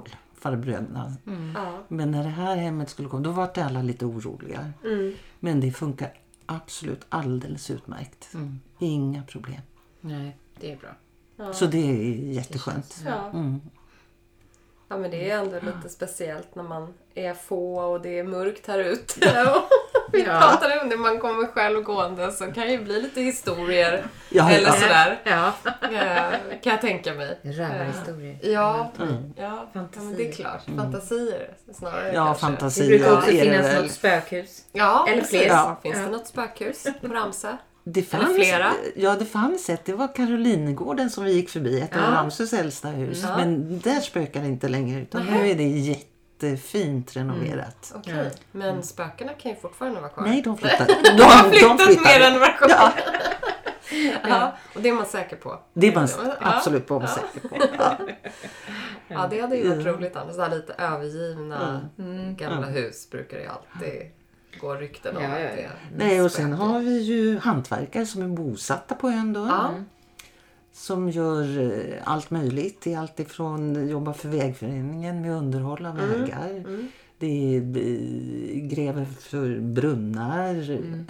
Speaker 3: alkoholfarbröderna.
Speaker 2: Ja.
Speaker 3: Men när det här hemmet skulle komma då var det alla lite oroliga.
Speaker 2: Mm.
Speaker 3: Men det funkar absolut alldeles utmärkt.
Speaker 2: Mm.
Speaker 3: Inga problem.
Speaker 1: Nej, det är bra.
Speaker 3: Så det är jätteskönt.
Speaker 2: Ja.
Speaker 1: Mm.
Speaker 3: Mm.
Speaker 2: ja, men det är ändå lite speciellt när man är få och det är mörkt här ute. [LAUGHS] Och Vi
Speaker 1: Ja.
Speaker 2: pratade om det, man kommer själv gående så kan ju bli lite historier.
Speaker 3: Ja,
Speaker 2: eller
Speaker 3: ja.
Speaker 2: sådär,
Speaker 1: Ja.
Speaker 2: eh, kan jag tänka mig.
Speaker 1: Rövarhistorier.
Speaker 2: Ja, ja
Speaker 1: Fantasier.
Speaker 2: men det är klart. Fantasier snarare
Speaker 3: Mm. Ja,
Speaker 2: kanske.
Speaker 1: [LAUGHS] Det
Speaker 3: fantasier
Speaker 1: brukar också
Speaker 3: är det
Speaker 1: finnas
Speaker 3: väl.
Speaker 1: något spökhus.
Speaker 2: Ja,
Speaker 1: Eller
Speaker 2: eller
Speaker 1: fler.
Speaker 2: fler.
Speaker 1: Ja.
Speaker 2: Finns
Speaker 1: Ja.
Speaker 2: det något spökhus på Ramsö?
Speaker 3: Det fanns,
Speaker 2: Eller flera.
Speaker 3: Ja, det fanns ett. Det var Karolinegården som vi gick förbi, ett av Ramsös äldsta hus. Men där spökar det inte längre utan nu är det jättefint renoverat.
Speaker 2: Okej. Men spökena kan ju fortfarande vara kvar.
Speaker 3: Nej,
Speaker 2: [LAUGHS]
Speaker 3: de flyttade. De, de har
Speaker 2: Mm. Flyttat med renovationer. Ja. [LAUGHS] ja, och det är man säker på.
Speaker 3: Det är man
Speaker 2: Ja.
Speaker 3: absolut på
Speaker 2: [LAUGHS]
Speaker 3: säker på. Ja.
Speaker 2: Ja, det hade ju varit roligt annars. Sådär lite övergivna Mm. gamla hus brukar det ju alltid gå rykten om
Speaker 1: Ja,
Speaker 2: att
Speaker 1: ja,
Speaker 2: det
Speaker 1: ja.
Speaker 2: är
Speaker 3: Nej, och sen har vi ju hantverkare som är bosatta på ön då.
Speaker 2: Ja.
Speaker 3: Som gör eh, allt möjligt. Det är allt ifrån jobba för vägföreningen med underhåll av
Speaker 2: Mm,
Speaker 3: vägar. Det är eh, gräver för brunnar.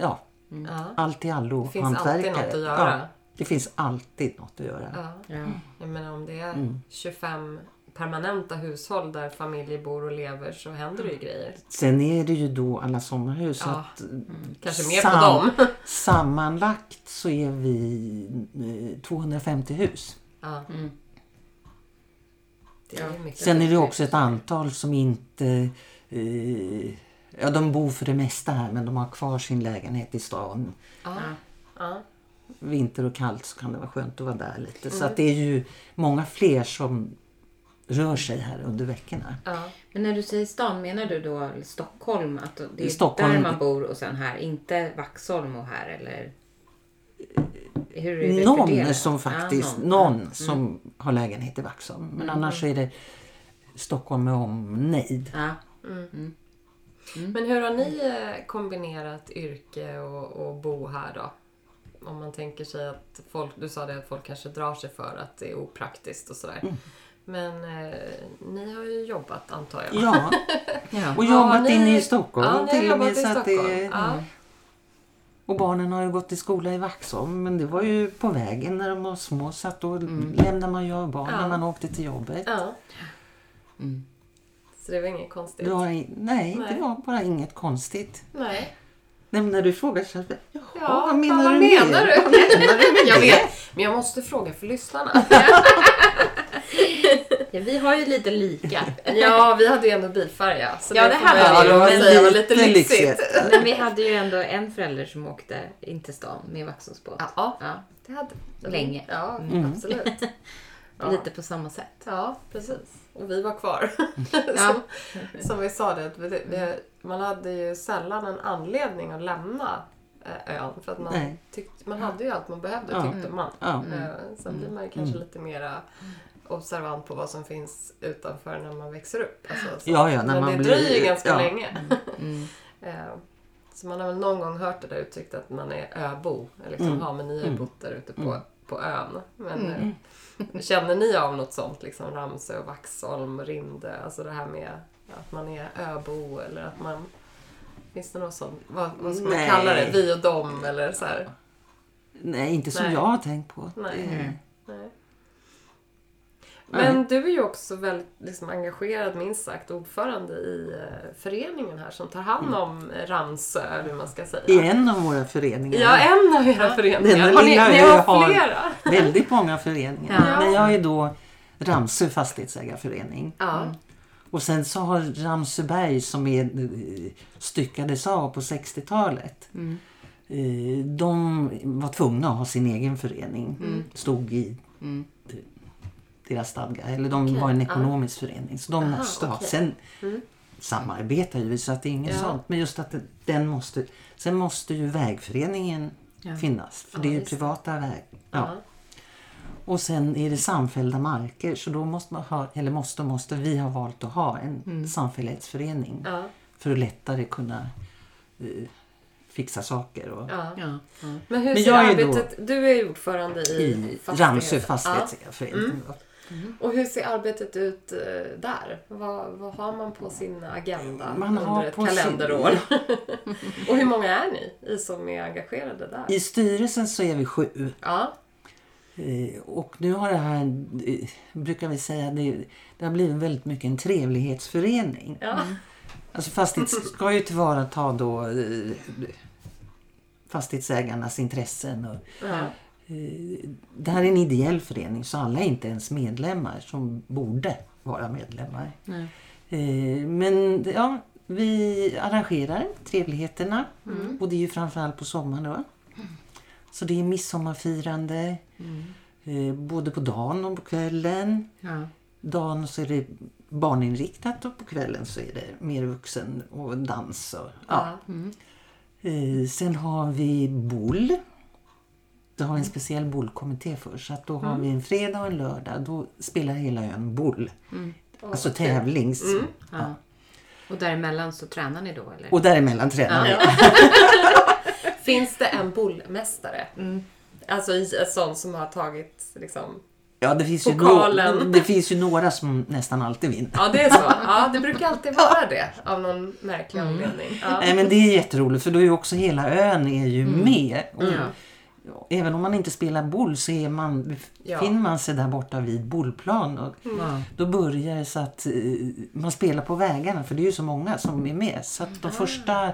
Speaker 3: Ja,
Speaker 2: Ja.
Speaker 3: allt i allo.
Speaker 2: Mm. Det finns
Speaker 3: hantverkare.
Speaker 2: alltid något att göra.
Speaker 3: Ja, det finns alltid något att göra.
Speaker 2: Ja.
Speaker 1: Ja.
Speaker 2: Jag menar om det är 25 permanenta hushåll där familjer bor och lever så händer det ju grejer.
Speaker 3: Sen är det ju då alla sommarhus. så
Speaker 2: Ja. Mm.
Speaker 3: Att, eh,
Speaker 2: Kanske mer på
Speaker 3: sam-
Speaker 2: dem. [LAUGHS]
Speaker 3: sammanlagt så är vi eh, 250 hus.
Speaker 2: Ja. Det är ju mycket.
Speaker 3: Sen är det också ett antal som inte... Eh, ja, de bor för det mesta här men de har kvar sin lägenhet i stan.
Speaker 2: Ja. Ja.
Speaker 3: Vinter och kallt så kan det vara skönt att vara där lite. Så
Speaker 2: Mm.
Speaker 3: att det är ju många fler som rör sig här under veckorna.
Speaker 2: Ja.
Speaker 1: Men när du säger stan, menar du då Stockholm? Att det är
Speaker 3: Stockholm.
Speaker 1: där man bor och sen här? Inte Vaxholm och här eller? Hur är det
Speaker 3: Någon
Speaker 1: fördelat?
Speaker 3: som faktiskt,
Speaker 1: Ja,
Speaker 3: någon, som
Speaker 2: Mm.
Speaker 3: har lägenhet i Vaxholm. Men annars är det Stockholm med omnejd.
Speaker 1: Ja.
Speaker 2: Men hur har ni eh, kombinerat yrke och, och bo här då? Om man tänker sig att folk, du sa det att folk kanske drar sig för att det är opraktiskt och sådär.
Speaker 3: Mm.
Speaker 2: Men eh, ni har ju jobbat antar jag?
Speaker 3: Ja,
Speaker 1: Ja.
Speaker 3: och
Speaker 2: Ja,
Speaker 3: jobbat
Speaker 2: ni-
Speaker 3: inne i Stockholm
Speaker 2: Ja, ni har
Speaker 3: till och
Speaker 2: jobbat
Speaker 3: med.
Speaker 2: i
Speaker 3: Så att
Speaker 2: Stockholm.
Speaker 3: det, Mm.
Speaker 2: ja.
Speaker 3: Och barnen har ju gått i skola i Vaxholm men det var ju på vägen när de var
Speaker 2: Mm.
Speaker 3: små så att då lämnade man ju av barn när man åkte till jobbet.
Speaker 2: Ja. Så det var inget konstigt.
Speaker 3: Du har, in- nej,
Speaker 2: Nej.
Speaker 3: det var bara inget konstigt.
Speaker 2: Nej.
Speaker 3: Nej, men när du frågar så här, jaha,
Speaker 2: Ja,
Speaker 3: vad menar
Speaker 2: vad menar
Speaker 3: du med?
Speaker 2: du?
Speaker 3: Vad menar du med
Speaker 2: [LAUGHS] Jag
Speaker 3: det?
Speaker 2: vet, men jag måste fråga för lyssnarna. [LAUGHS]
Speaker 1: Ja, vi har ju lite lika.
Speaker 2: Ja, vi hade ju ändå bilfärja. Så
Speaker 1: Ja, det
Speaker 2: får
Speaker 1: hade
Speaker 2: man
Speaker 1: vi,
Speaker 2: ju
Speaker 1: men
Speaker 2: säga var lite lyxigt.
Speaker 1: Men vi hade ju ändå en förälder som åkte in till stan med Vaxholmsbåt.
Speaker 2: Ja,
Speaker 1: Ja,
Speaker 2: det hade vi.
Speaker 1: Länge.
Speaker 2: Ja, absolut. Ja.
Speaker 1: Lite på samma sätt.
Speaker 2: Ja, precis. Och vi var
Speaker 3: [LAUGHS]
Speaker 2: kvar.
Speaker 1: Ja.
Speaker 2: som, som vi sa det, att vi, vi, man hade ju sällan en anledning att lämna eh, ön. För att man,
Speaker 3: Nej.
Speaker 2: tyckte, man hade ju allt man behövde
Speaker 3: Ja.
Speaker 2: tyckte man.
Speaker 3: Ja. Mm.
Speaker 2: Eh, Sen blir man ju kanske lite mera observant på vad som finns utanför när man växer upp. Alltså, så.
Speaker 3: Ja, ja, när
Speaker 2: Men
Speaker 3: man
Speaker 2: det
Speaker 3: blir-
Speaker 2: dröjer ju ganska
Speaker 3: ja. Mm.
Speaker 2: länge. [LAUGHS] Eh, Så man har väl någon gång hört det där uttrycket att man är öbo. Eller liksom,
Speaker 3: Mm.
Speaker 2: ja men ni har ju bott där ute på, på ön. Men eh, känner ni av något sånt? Liksom Ramsö, och Vaxholm, och Rinde. Alltså det här med att man är öbo eller att man... Finns det något sånt? Vad, vad ska man
Speaker 3: Nej.
Speaker 2: kalla det? Vi och dem eller så här?
Speaker 3: Nej, inte som
Speaker 2: Nej.
Speaker 3: jag har tänkt på.
Speaker 2: Nej.
Speaker 3: Det-
Speaker 2: Nej. Men du är ju också väldigt liksom, engagerad, minst sagt, ordförande i eh, föreningen här som tar hand
Speaker 3: Mm.
Speaker 2: om eh, Ramsö, eller hur man ska säga.
Speaker 3: I en av våra föreningar.
Speaker 2: Ja, en av era föreningar.
Speaker 3: Den
Speaker 2: Har ni,
Speaker 3: lilla
Speaker 2: ni
Speaker 3: ö
Speaker 2: har
Speaker 3: har-
Speaker 2: flera?
Speaker 3: Väldigt många föreningar.
Speaker 1: Ja.
Speaker 3: Men jag är då Ramsö fastighetsägarförening.
Speaker 2: Ja.
Speaker 3: Och sen så har Ramsöberg som är, eh, styckades av på 60-talet. eh, De var tvungna att ha sin egen förening. Stod i eh, deras stadga. Eller de var en ekonomisk förening. Så de måste ha.
Speaker 2: okej. Mm.
Speaker 3: Sen samarbetar ju vi så att det är inget sånt. Men just att det- den måste. Sen måste ju vägföreningen finnas. För det är ju privata väg. Ja. Och sen är det samfällda marker så då måste man ha, eller måste och måste, vi har valt att ha en samfällighetsförening
Speaker 2: Mm. Ja.
Speaker 3: för att lättare kunna eh, fixa saker. Och,
Speaker 2: Ja.
Speaker 1: Ja.
Speaker 2: Men hur
Speaker 3: Men
Speaker 2: ser
Speaker 3: jag är då-
Speaker 2: arbetet... Du är ju ordförande i,
Speaker 3: I
Speaker 2: fastigheten.
Speaker 3: Ramsö fastighetsägarförening.
Speaker 2: Mm. Ja. Och hur ser arbetet ut eh, där? Vad, vad har man på sin agenda
Speaker 3: Man
Speaker 2: under
Speaker 3: har
Speaker 2: ett
Speaker 3: på sin-
Speaker 2: kalenderår?
Speaker 3: [LAUGHS]
Speaker 2: Och hur många är ni i som är engagerade där?
Speaker 3: I styrelsen så är vi sju
Speaker 2: Ja.
Speaker 3: eh, och nu har det här, eh, brukar vi säga, det, det har blivit väldigt mycket en trevlighetsförening.
Speaker 2: Ja.
Speaker 3: Alltså fastighets ska ju tillvarata då eh, fastighetsägarnas intressen och
Speaker 2: Ja.
Speaker 3: Det här är en ideell förening så alla är inte ens medlemmar som borde vara medlemmar. Eh, Men ja, vi arrangerar trevligheterna och det är ju framförallt på sommaren då. Så det är midsommarfirande eh, både på dagen och på kvällen.
Speaker 1: Ja.
Speaker 3: Dagen så är det barninriktat och på kvällen så är det mer vuxen och dans. Och, ja. Eh, Sen har vi boll. Det har en speciell bollkommitté för så att då har vi en fredag och en lördag. Då spelar hela ön boll. Alltså tävlings...
Speaker 1: Ja. Och däremellan så tränar ni då eller?
Speaker 3: Och däremellan tränar vi.
Speaker 2: Finns det en bollmästare?
Speaker 3: Mm.
Speaker 2: Alltså i, en sån som har tagit liksom...
Speaker 3: Ja, det finns, ju no-
Speaker 2: Pokalen.
Speaker 3: det finns ju några som nästan alltid vinner.
Speaker 2: Ja, det är så. Ja, det brukar alltid vara det av någon märklig
Speaker 3: Mm.
Speaker 2: anledning.
Speaker 3: [LAUGHS]
Speaker 2: Ja.
Speaker 3: Nej men det är jätteroligt för då är ju också hela ön är ju med. Och ja, Även om man inte spelar boll så är man,
Speaker 2: Ja.
Speaker 3: finner man sig där borta vid bollplan. Och Då börjar det så att eh, man spelar på vägarna för det är ju så många som är med. Så att de första eh,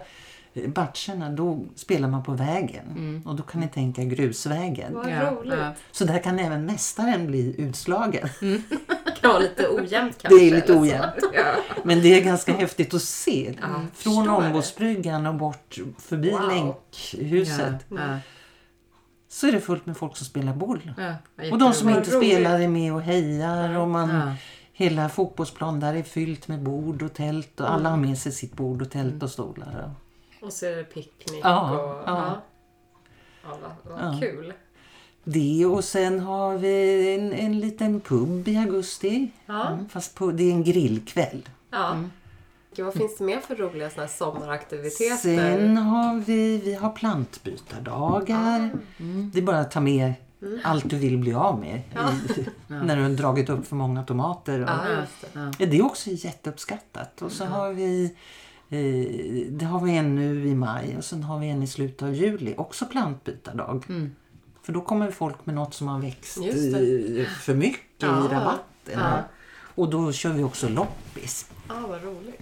Speaker 3: matcherna då spelar man på vägen och då kan ni tänka grusvägen.
Speaker 2: Vad
Speaker 1: Ja,
Speaker 2: roligt.
Speaker 1: ja.
Speaker 3: Så där kan även mästaren bli utslagen.
Speaker 2: Det kan vara lite ojämnt kanske.
Speaker 3: Det är lite
Speaker 2: eller så.
Speaker 3: ojämnt.
Speaker 2: Ja.
Speaker 3: Men det är ganska häftigt att se.
Speaker 2: förstår
Speaker 3: Från
Speaker 2: det.
Speaker 3: Ångbåtsbryggan och bort förbi
Speaker 2: Wow.
Speaker 3: Länkhuset.
Speaker 2: Mm.
Speaker 1: Ja.
Speaker 3: så är det fullt med folk som spelar boll.
Speaker 1: Ja. Ja.
Speaker 3: Och de som
Speaker 2: Vad
Speaker 3: inte
Speaker 2: roligt.
Speaker 3: spelar är med och hejar. Och man,
Speaker 1: Ja.
Speaker 3: Hela fotbollsplan där är fyllt med bord och tält och alla har
Speaker 2: Mm.
Speaker 3: med sig sitt bord och tält och stolar.
Speaker 2: Och så är det picknick
Speaker 3: Ja,
Speaker 2: och... Ja.
Speaker 3: ja.
Speaker 2: Ja, vad, vad kul.
Speaker 3: Det och sen har vi en, en liten pub i augusti.
Speaker 2: Ja.
Speaker 3: Mm, Fast på, det är en grillkväll.
Speaker 2: Ja.
Speaker 3: Mm.
Speaker 2: Gud, vad finns det mer för roliga såna här sommaraktiviteter?
Speaker 3: Sen har vi, vi har plantbytardagar.
Speaker 2: Ah.
Speaker 3: Det är bara att ta med
Speaker 2: Mm.
Speaker 3: allt du vill bli av med. [LAUGHS] I, när du har dragit upp för många tomater. Och,
Speaker 2: Ja, just det.
Speaker 3: Ja, Det är också jätteuppskattat. Och så har vi eh, det har vi en nu i maj och sen har vi en i slutet av juli. Också plantbytardag. För då kommer folk med något som har växt
Speaker 2: Just
Speaker 3: eh, för mycket i rabatten. Och då kör vi också loppis.
Speaker 2: Ah, vad roligt.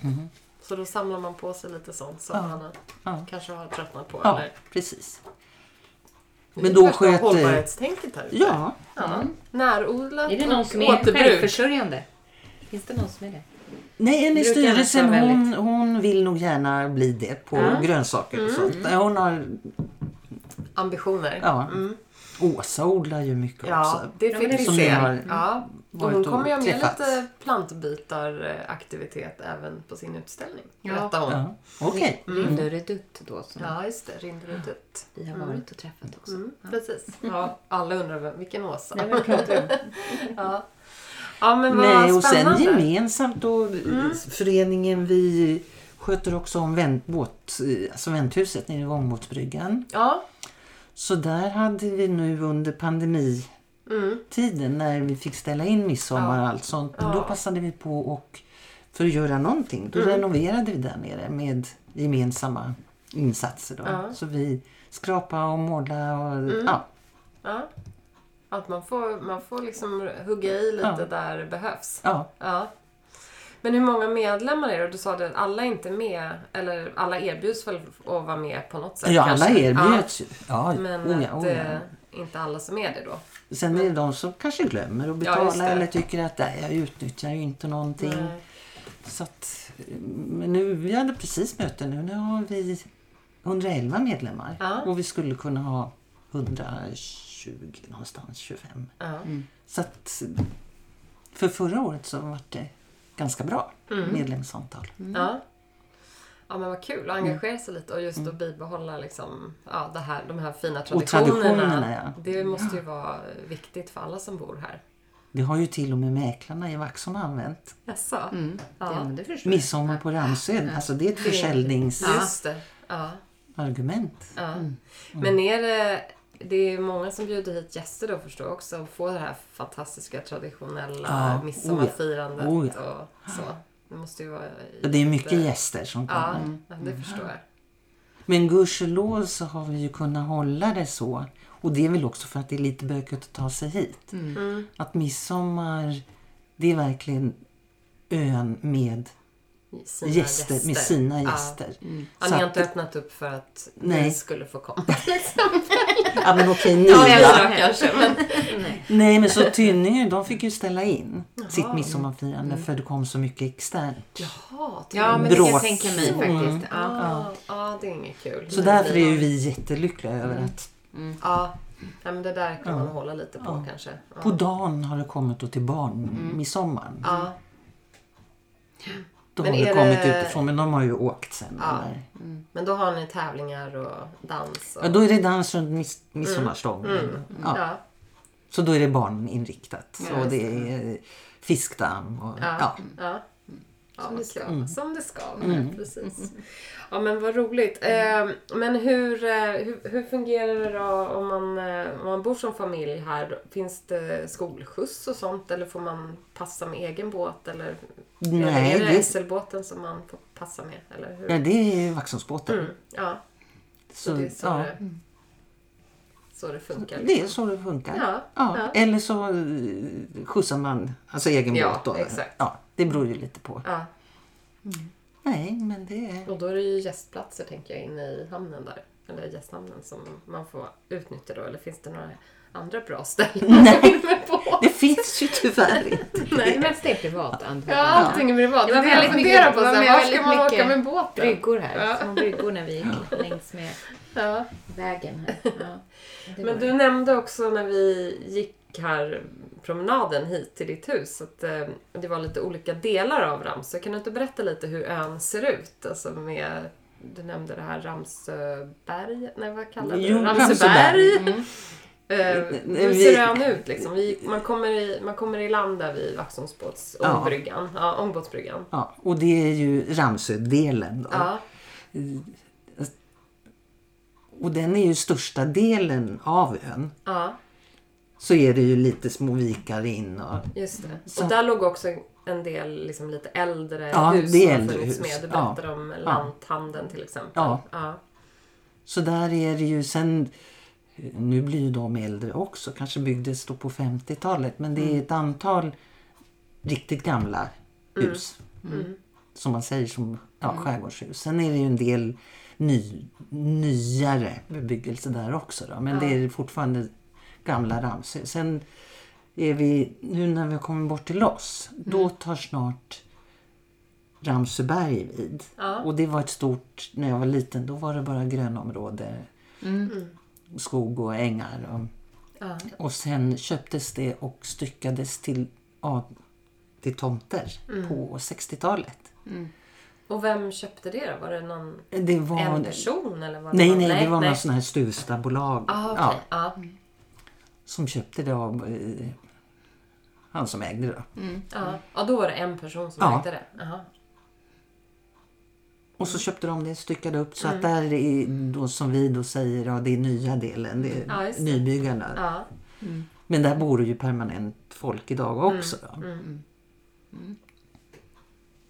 Speaker 2: Så då samlar man på sig lite sånt som man har-
Speaker 3: Mhm. Ja.
Speaker 2: kanske har tröttnat på.
Speaker 3: Ja,
Speaker 2: Eller?
Speaker 3: precis.
Speaker 2: Det
Speaker 3: Men
Speaker 2: är
Speaker 3: då
Speaker 2: värsta
Speaker 3: sköter-
Speaker 2: hållbarhetstänket här ute.
Speaker 3: Ja,
Speaker 2: ja. Närodlat
Speaker 1: Är det någon som
Speaker 2: och
Speaker 1: är
Speaker 2: återbruk.
Speaker 1: självförsörjande? Finns det någon som är det?
Speaker 3: nej en i
Speaker 1: Brukar annars
Speaker 3: styrelsen
Speaker 1: vara
Speaker 3: hon,
Speaker 1: väldigt-
Speaker 3: hon vill nog gärna bli det på grönsaker
Speaker 2: Mm.
Speaker 3: och sånt. Hon har,
Speaker 2: Ambitioner.
Speaker 3: ja, Åsa odlar ju mycket
Speaker 2: Mm. Ja,
Speaker 3: också.
Speaker 2: det fick
Speaker 1: men
Speaker 2: vi
Speaker 3: som
Speaker 2: se.
Speaker 3: ni har
Speaker 2: Ja. Och
Speaker 3: varit
Speaker 2: hon
Speaker 3: och
Speaker 2: kommer ju ha med
Speaker 3: träffats.
Speaker 2: lite plantbytaraktivitet även på sin utställning. Berättar hon. Ja,
Speaker 3: Ja, Okej,
Speaker 2: Mm.
Speaker 1: Linderedutt då som
Speaker 2: just det. Rinderudet.
Speaker 1: vi har varit och träffat också.
Speaker 2: Mm, precis. Ja, alla undrar vem, vilken Åsa.
Speaker 1: Nej, men pratar om.
Speaker 2: [LAUGHS] Ja. ja, men Mm. vad
Speaker 3: Nej, och sen
Speaker 2: spännande. Mm.
Speaker 3: gemensamt då föreningen vi sköter också om vänt, båt, alltså vänthuset nere i Vångbåtsbryggan.
Speaker 2: Ja,
Speaker 3: Så där hade vi nu under
Speaker 2: Mm.
Speaker 3: pandemitiden när vi fick ställa in midsommar och allt sånt. Då passade vi på och för att göra någonting,
Speaker 2: Mm.
Speaker 3: då renoverade vi där nere med gemensamma insatser. Då. Så vi skrapade och målade och
Speaker 2: Mm.
Speaker 3: ja,
Speaker 2: ja. Att man får, man får liksom hugga i lite
Speaker 3: Ja.
Speaker 2: där det behövs.
Speaker 3: ja.
Speaker 2: Ja. Men hur många medlemmar är det? Du sa det att alla är inte med, eller alla erbjuds väl att vara med på något sätt?
Speaker 3: ja
Speaker 2: kanske?
Speaker 3: alla erbjöds ju. Ja.
Speaker 2: Ja, men
Speaker 3: oh ja,
Speaker 2: att
Speaker 3: oh ja.
Speaker 2: eh, inte alla som är det då.
Speaker 3: Sen är det de som kanske glömmer att
Speaker 2: Ja, just
Speaker 3: betala
Speaker 2: det.
Speaker 3: eller tycker att nej, jag utnyttjar ju inte någonting.
Speaker 2: Nej.
Speaker 3: Så att, men nu, vi hade precis möte nu. Nu har vi 111 medlemmar
Speaker 2: Ja.
Speaker 3: och vi skulle kunna ha 120 någonstans, 25.
Speaker 2: Ja.
Speaker 3: Så att, för förra året så var det ganska bra
Speaker 2: Mm.
Speaker 3: medlemsantal.
Speaker 2: Ja. ja, men vad kul att engagera
Speaker 3: Mm.
Speaker 2: sig lite och just att bibehålla liksom, ja, det här, de här fina traditionerna.
Speaker 3: traditionerna, ja.
Speaker 2: Det måste ju vara viktigt för alla som bor här.
Speaker 3: Det har ju till och med mäklarna i Vaxholm använt.
Speaker 2: Jaså?
Speaker 1: Ja,
Speaker 2: Mm. Ja.
Speaker 1: men det förstår jag.
Speaker 3: Midsommar på Ramsön, alltså det är ett
Speaker 2: Just det. Ja.
Speaker 3: försäljningsargument.
Speaker 2: Ja. Men är det, det är många som bjuder hit gäster då förstår jag också och får det här fantastiska traditionella
Speaker 3: Ja,
Speaker 2: midsommarfirandet
Speaker 3: oh ja,
Speaker 2: och så. Det måste ju vara...
Speaker 3: Och Det är mycket
Speaker 2: jätte-
Speaker 3: gäster som kommer.
Speaker 2: Ja, ja, det förstår jag.
Speaker 3: Men gudskelov så har vi ju kunnat hålla det så. Och det är väl också för att det är lite bökigt att ta sig hit.
Speaker 2: Mm.
Speaker 3: Att midsommar, det är verkligen ön med
Speaker 2: Sina Mm.
Speaker 3: gäster, med sina gäster.
Speaker 2: Ja,
Speaker 3: Så
Speaker 2: ni har
Speaker 3: att,
Speaker 2: inte öppnat upp för att ni
Speaker 3: Nej.
Speaker 2: skulle få
Speaker 3: [LAUGHS]
Speaker 2: komma.
Speaker 3: ja men okej nu
Speaker 2: Ja,
Speaker 3: va?
Speaker 2: eller då kanske. Men,
Speaker 3: Nej men så Tynninge, de fick ju ställa in sitt midsommarfirande
Speaker 2: Mm.
Speaker 3: för det kom så mycket externt.
Speaker 2: ja, det-
Speaker 1: Ja, men det kan jag
Speaker 3: Brås.
Speaker 1: tänka mig faktiskt. Ja.
Speaker 2: ja, ja, det är inget kul.
Speaker 3: Så därför är ju vi jättelyckliga över
Speaker 2: Mm.
Speaker 3: att
Speaker 2: Ja, ja, men det där kan man hålla lite på kanske. Ja.
Speaker 3: på dagen har det kommit då till barn, midsommaren.
Speaker 2: Mm. Ja.
Speaker 3: Då
Speaker 2: Men
Speaker 3: har det
Speaker 2: är
Speaker 3: kommit
Speaker 2: det-
Speaker 3: utifrån men de har ju åkt sen. Eller?
Speaker 2: Men då har ni tävlingar och dans. Och,
Speaker 3: Ja, då är det dans runt mis- midsommarstången.
Speaker 2: Mm.
Speaker 3: Mm. Ja.
Speaker 2: ja.
Speaker 3: Så då är det barninriktat. Så det är eh, fiskdamm och ja.
Speaker 2: Ja. Som det ska. Som det ska. Precis. Ja men vad roligt. Eh, men hur, eh, hur, hur fungerar det då om man, eh, om man bor som familj här? Finns det skolskjuts och sånt eller får man passa med egen båt? Eller
Speaker 3: Nej,
Speaker 2: är det,
Speaker 3: det-
Speaker 2: SL-båten som man får passa med? Eller hur?
Speaker 3: Nej, det är Vaxholmsbåten.
Speaker 2: Mm. Ja, så,
Speaker 3: Så,
Speaker 2: det är så,
Speaker 3: ja,
Speaker 2: det, så det funkar.
Speaker 3: det är så det funkar.
Speaker 2: Ja, ja.
Speaker 3: Eller så eh, skjutsar man alltså egen
Speaker 2: Ja,
Speaker 3: båt. Då.
Speaker 2: exakt.
Speaker 3: Ja, det beror ju lite på.
Speaker 2: Ja.
Speaker 3: Nej, men det är...
Speaker 2: Och då är det ju gästplatser tänker jag inne i hamnen där. Eller gästhamnen som man får utnyttja då. Eller finns det några andra bra ställen man vill med på?
Speaker 3: Det finns ju tyvärr
Speaker 2: [LAUGHS]
Speaker 3: inte.
Speaker 1: Nej, men det är privat
Speaker 2: Ja,
Speaker 1: antar jag.
Speaker 2: allting är privat.
Speaker 1: Det
Speaker 2: Det
Speaker 1: var
Speaker 2: är det jag
Speaker 1: väldigt
Speaker 2: funderar
Speaker 1: mycket-
Speaker 2: på.
Speaker 1: det
Speaker 2: Så
Speaker 1: var
Speaker 2: här, var ska
Speaker 1: väldigt
Speaker 2: man åka
Speaker 1: mycket
Speaker 2: med båten?
Speaker 1: Bryggor här. Små bryggor när vi gick längs med
Speaker 2: Ja.
Speaker 1: vägen här. [LAUGHS] Ja. Det var-
Speaker 2: Men du nämnde också när vi gick här promenaden hit till ditt hus att eh, det var lite olika delar av Ramsö. Kan du inte berätta lite hur ön ser ut? Alltså med, du nämnde det här Ramsöberg, nej vad kallar du det?
Speaker 3: Jo,
Speaker 2: Ramsöberg. Mm.
Speaker 3: Ramsöberg. Mm.
Speaker 2: Eh, hur
Speaker 3: Vi-
Speaker 2: ser ön ut liksom? Vi, man, kommer i, man kommer i land där vid Vaxholmsbåts,
Speaker 3: Ja.
Speaker 2: ångbryggan. Ja, ångbåtsbryggan.
Speaker 3: Ja, och det är ju Ramsödelen. Då.
Speaker 2: Ja.
Speaker 3: Och den är ju största delen av ön.
Speaker 2: ja,
Speaker 3: Så är det ju lite små vikar in och
Speaker 2: just det.
Speaker 3: Mm. Så-
Speaker 2: Och där låg också en del liksom, lite äldre
Speaker 3: Ja,
Speaker 2: hus
Speaker 3: det är
Speaker 2: som har
Speaker 3: äldre
Speaker 2: funnits
Speaker 3: hus.
Speaker 2: med. Du
Speaker 3: Ja.
Speaker 2: berättade om lanthandeln till exempel.
Speaker 3: Ja.
Speaker 2: ja.
Speaker 3: Så där är det ju sen, nu blir ju de äldre också, kanske byggdes då på 50-talet, men det är ett antal riktigt gamla hus. som man säger som ja, skärgårdshus. Sen är det ju en del ny, nyare bebyggelse där också. Då. Men det är fortfarande gamla ramshus. Sen är vi, nu när vi kommer bort till oss, då tar snart Ramsöberg vid.
Speaker 2: Ja.
Speaker 3: Och det var ett stort, när jag var liten, då var det bara grönområde, skog och ängar. Och,
Speaker 2: Mm. Ja.
Speaker 3: och sen köptes det och styckades till, ja, till tomter
Speaker 2: Mm.
Speaker 3: på 60-talet.
Speaker 2: Och vem köpte det då? Var det någon
Speaker 3: Det var...
Speaker 2: en person? Eller var det
Speaker 3: Nej,
Speaker 2: någon-
Speaker 3: nej, det var någon sån här Stuvstabolag
Speaker 2: Ah, okej.
Speaker 3: ja,
Speaker 2: ja.
Speaker 3: som köpte det av eh, han som ägde det. då.
Speaker 2: Ja. ja, då var det en person som
Speaker 3: Mm. Ja.
Speaker 2: ägde det. Aha.
Speaker 3: Och så köpte de det, styckade upp. Så att
Speaker 2: Mm.
Speaker 3: där är då, som vi då säger, ja, det är nya delen, det är
Speaker 2: Ja, just det.
Speaker 3: nybyggarna.
Speaker 2: Ja.
Speaker 3: Men där bor det ju permanent folk idag också.
Speaker 2: Mm.
Speaker 3: Då.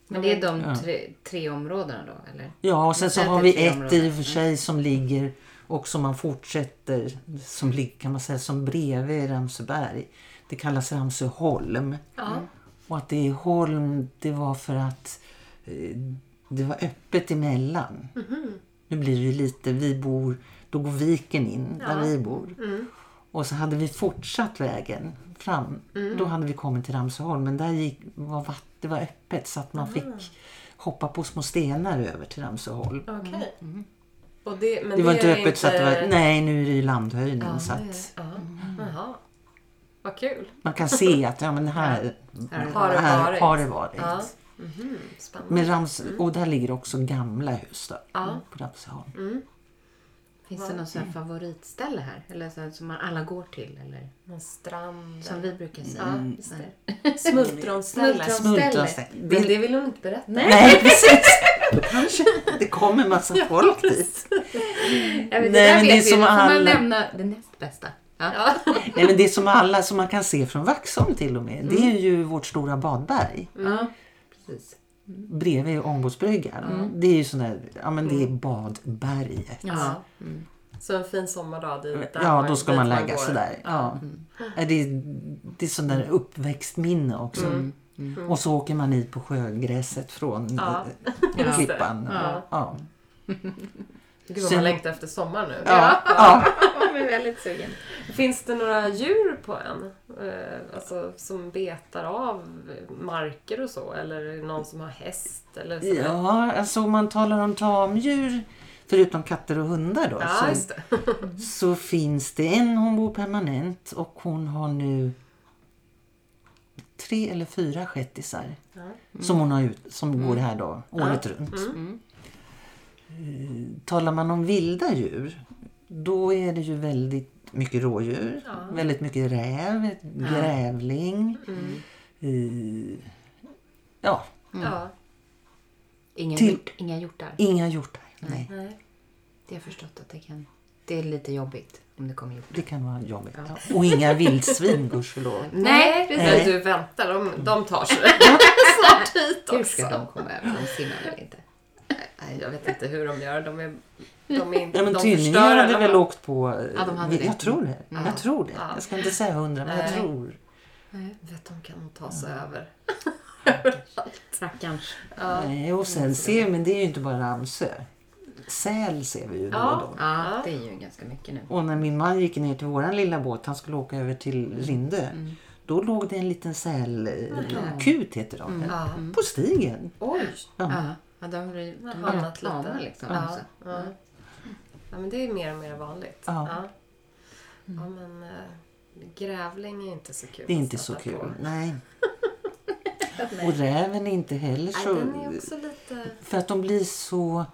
Speaker 1: Men det är de tre, tre områdena då, eller?
Speaker 3: Ja, och sen så
Speaker 1: Sen
Speaker 3: har
Speaker 1: är
Speaker 3: vi
Speaker 1: tre
Speaker 3: ett
Speaker 1: områden.
Speaker 3: i och för sig som ligger och som man fortsätter, som ligger kan man säga, som bredvid Ramsöberg. Det kallas Ramsöholm.
Speaker 2: Ja.
Speaker 3: Och att det är holm, det var för att eh, det var öppet emellan. Nu blir det ju lite, vi bor, då går viken in där vi bor. Och så hade vi fortsatt vägen fram.
Speaker 2: Mm.
Speaker 3: Då hade vi kommit till Ramsöholm men där gick, var vatt, det var öppet så att
Speaker 2: Ah.
Speaker 3: man fick hoppa på små stenar över till Ramsöholm.
Speaker 2: Okej. Och det, men
Speaker 3: Mm. Det var inte
Speaker 2: är
Speaker 3: öppet så att det var, Mm. nej nu är det ju landhöjning så att
Speaker 2: Ja. Jaha. Vad kul.
Speaker 3: man kan se att ja men här,
Speaker 2: Har det varit.
Speaker 3: har det varit.
Speaker 2: Ja. Mhm, Spännande. Mm.
Speaker 3: Men Rams, Och där ligger också gamla hus då,
Speaker 2: Ja. Mm.
Speaker 3: på Ramsöholm.
Speaker 1: Finns det någon sån här favoritställe här? Eller så, som man alla går till? Eller?
Speaker 2: Någon
Speaker 3: [LAUGHS]
Speaker 2: strand.
Speaker 1: Som vi brukar säga.
Speaker 2: Ja, just det. Smultronställe.
Speaker 1: Smultron-
Speaker 3: Smultronställe.
Speaker 2: Men
Speaker 3: Det,
Speaker 2: det vill hon inte berätta.
Speaker 3: nej, precis. [LAUGHS] Kanske det kommer
Speaker 2: [LAUGHS]
Speaker 3: en massa folk dit.
Speaker 1: Jag vet,
Speaker 3: Nej,
Speaker 1: det där vet
Speaker 3: men det är
Speaker 1: vi.
Speaker 3: som
Speaker 1: Då får
Speaker 3: alla-
Speaker 1: man lämna det näst bästa. Ja.
Speaker 2: Ja.
Speaker 3: Nej, men det är som alla som man kan se från Vaxholm till och med. Det
Speaker 2: Mm.
Speaker 3: är ju vårt stora badberg
Speaker 1: Ja, Mm. precis.
Speaker 3: bredvid Ångbåtsbryggan.
Speaker 2: Mm.
Speaker 3: Det är ju sån där, ja men det är badberget.
Speaker 1: Ja.
Speaker 2: Så en fin sommardag dit. där
Speaker 3: Ja,
Speaker 2: man-
Speaker 3: då ska
Speaker 2: dit
Speaker 3: man lägga
Speaker 2: går. Mm.
Speaker 3: sig där. Ja. Ja, Det, är, det är sån där uppväxtminne också.
Speaker 2: Mm.
Speaker 3: Mm. Och så åker man i på sjögräset från
Speaker 2: Ja.
Speaker 3: eh, klippan.
Speaker 2: Ja.
Speaker 3: Ja.
Speaker 2: Gud vad
Speaker 3: Sen-
Speaker 2: man längtar efter sommar nu.
Speaker 3: Ja. Ja.
Speaker 1: Jag är väldigt sugen.
Speaker 2: Finns det några djur på ön? Eh, alltså som betar av marker och så? Eller är det någon som har häst? Eller så?
Speaker 3: ja, alltså om man talar om tamdjur, förutom katter och hundar då,
Speaker 2: Ja,
Speaker 3: så,
Speaker 2: just det.
Speaker 3: så finns det en, hon bor permanent och hon har nu tre eller fyra shettisar som, hon har ut, som går här då, året runt. Eh, Talar man om vilda djur, då är det ju väldigt mycket rådjur, väldigt mycket räv, grävling. eh, Ja,
Speaker 1: Mm.
Speaker 2: Ja.
Speaker 1: Ingen
Speaker 3: Till-
Speaker 1: hjort, inga hjortar.
Speaker 3: inga hjortar. Nej,
Speaker 2: Nej.
Speaker 1: Det har jag förstått att det kan... Det är lite jobbigt om det kommer hjortar.
Speaker 3: det kan vara jobbigt. Ja. Och inga vildsvin, [LAUGHS] gudskelov.
Speaker 1: Nej, precis.
Speaker 2: Men
Speaker 3: Nej.
Speaker 2: du väntar, de, de tar sig
Speaker 1: [LAUGHS]
Speaker 2: snart hit
Speaker 1: Hur ska
Speaker 2: också.
Speaker 1: de komma över? De simmar väl inte?
Speaker 2: Nej, jag vet inte hur de gör. De är, de är inte,
Speaker 3: Ja, men
Speaker 2: de
Speaker 3: Tynninge
Speaker 2: förstör
Speaker 3: hade
Speaker 2: alla
Speaker 3: väl
Speaker 2: fall.
Speaker 3: åkt på... eh,
Speaker 1: Ja, de hade det.
Speaker 3: jag tror det. Jag tror det. Jag ska inte säga hundra, men jag
Speaker 2: Mm. Nej.
Speaker 3: tror.
Speaker 2: Vet, de kan ta sig över.
Speaker 1: Stackarns.
Speaker 3: Nej, och
Speaker 2: Mm.
Speaker 3: sen ser men det är ju inte bara Ramsö. Säl ser vi ju då och
Speaker 2: Ja.
Speaker 3: då.
Speaker 1: Ja, det är ju ganska mycket nu.
Speaker 3: Och när min man gick ner till våran lilla båt, han skulle åka över till Rindö.
Speaker 2: Mm.
Speaker 3: Då låg det en liten sälkut, heter de.
Speaker 2: Mm.
Speaker 3: Mm.
Speaker 2: Ja.
Speaker 3: På stigen.
Speaker 2: Oj!
Speaker 1: Ja, ja de blir de
Speaker 2: hamnat
Speaker 1: blir rätt
Speaker 2: lite.
Speaker 1: lama liksom.
Speaker 2: Ja,
Speaker 1: också.
Speaker 2: ja. ja, men det är mer och mer vanligt.
Speaker 3: Ja.
Speaker 2: ja.
Speaker 1: Mm.
Speaker 2: Ja, men eh, grävling är inte så kul.
Speaker 3: Det är
Speaker 2: att
Speaker 3: inte så
Speaker 2: stöta
Speaker 3: kul.
Speaker 2: på. [LAUGHS]
Speaker 3: Nej. Och räven är inte
Speaker 2: Nej,
Speaker 3: heller så...
Speaker 2: den är också lite...
Speaker 3: För att de blir så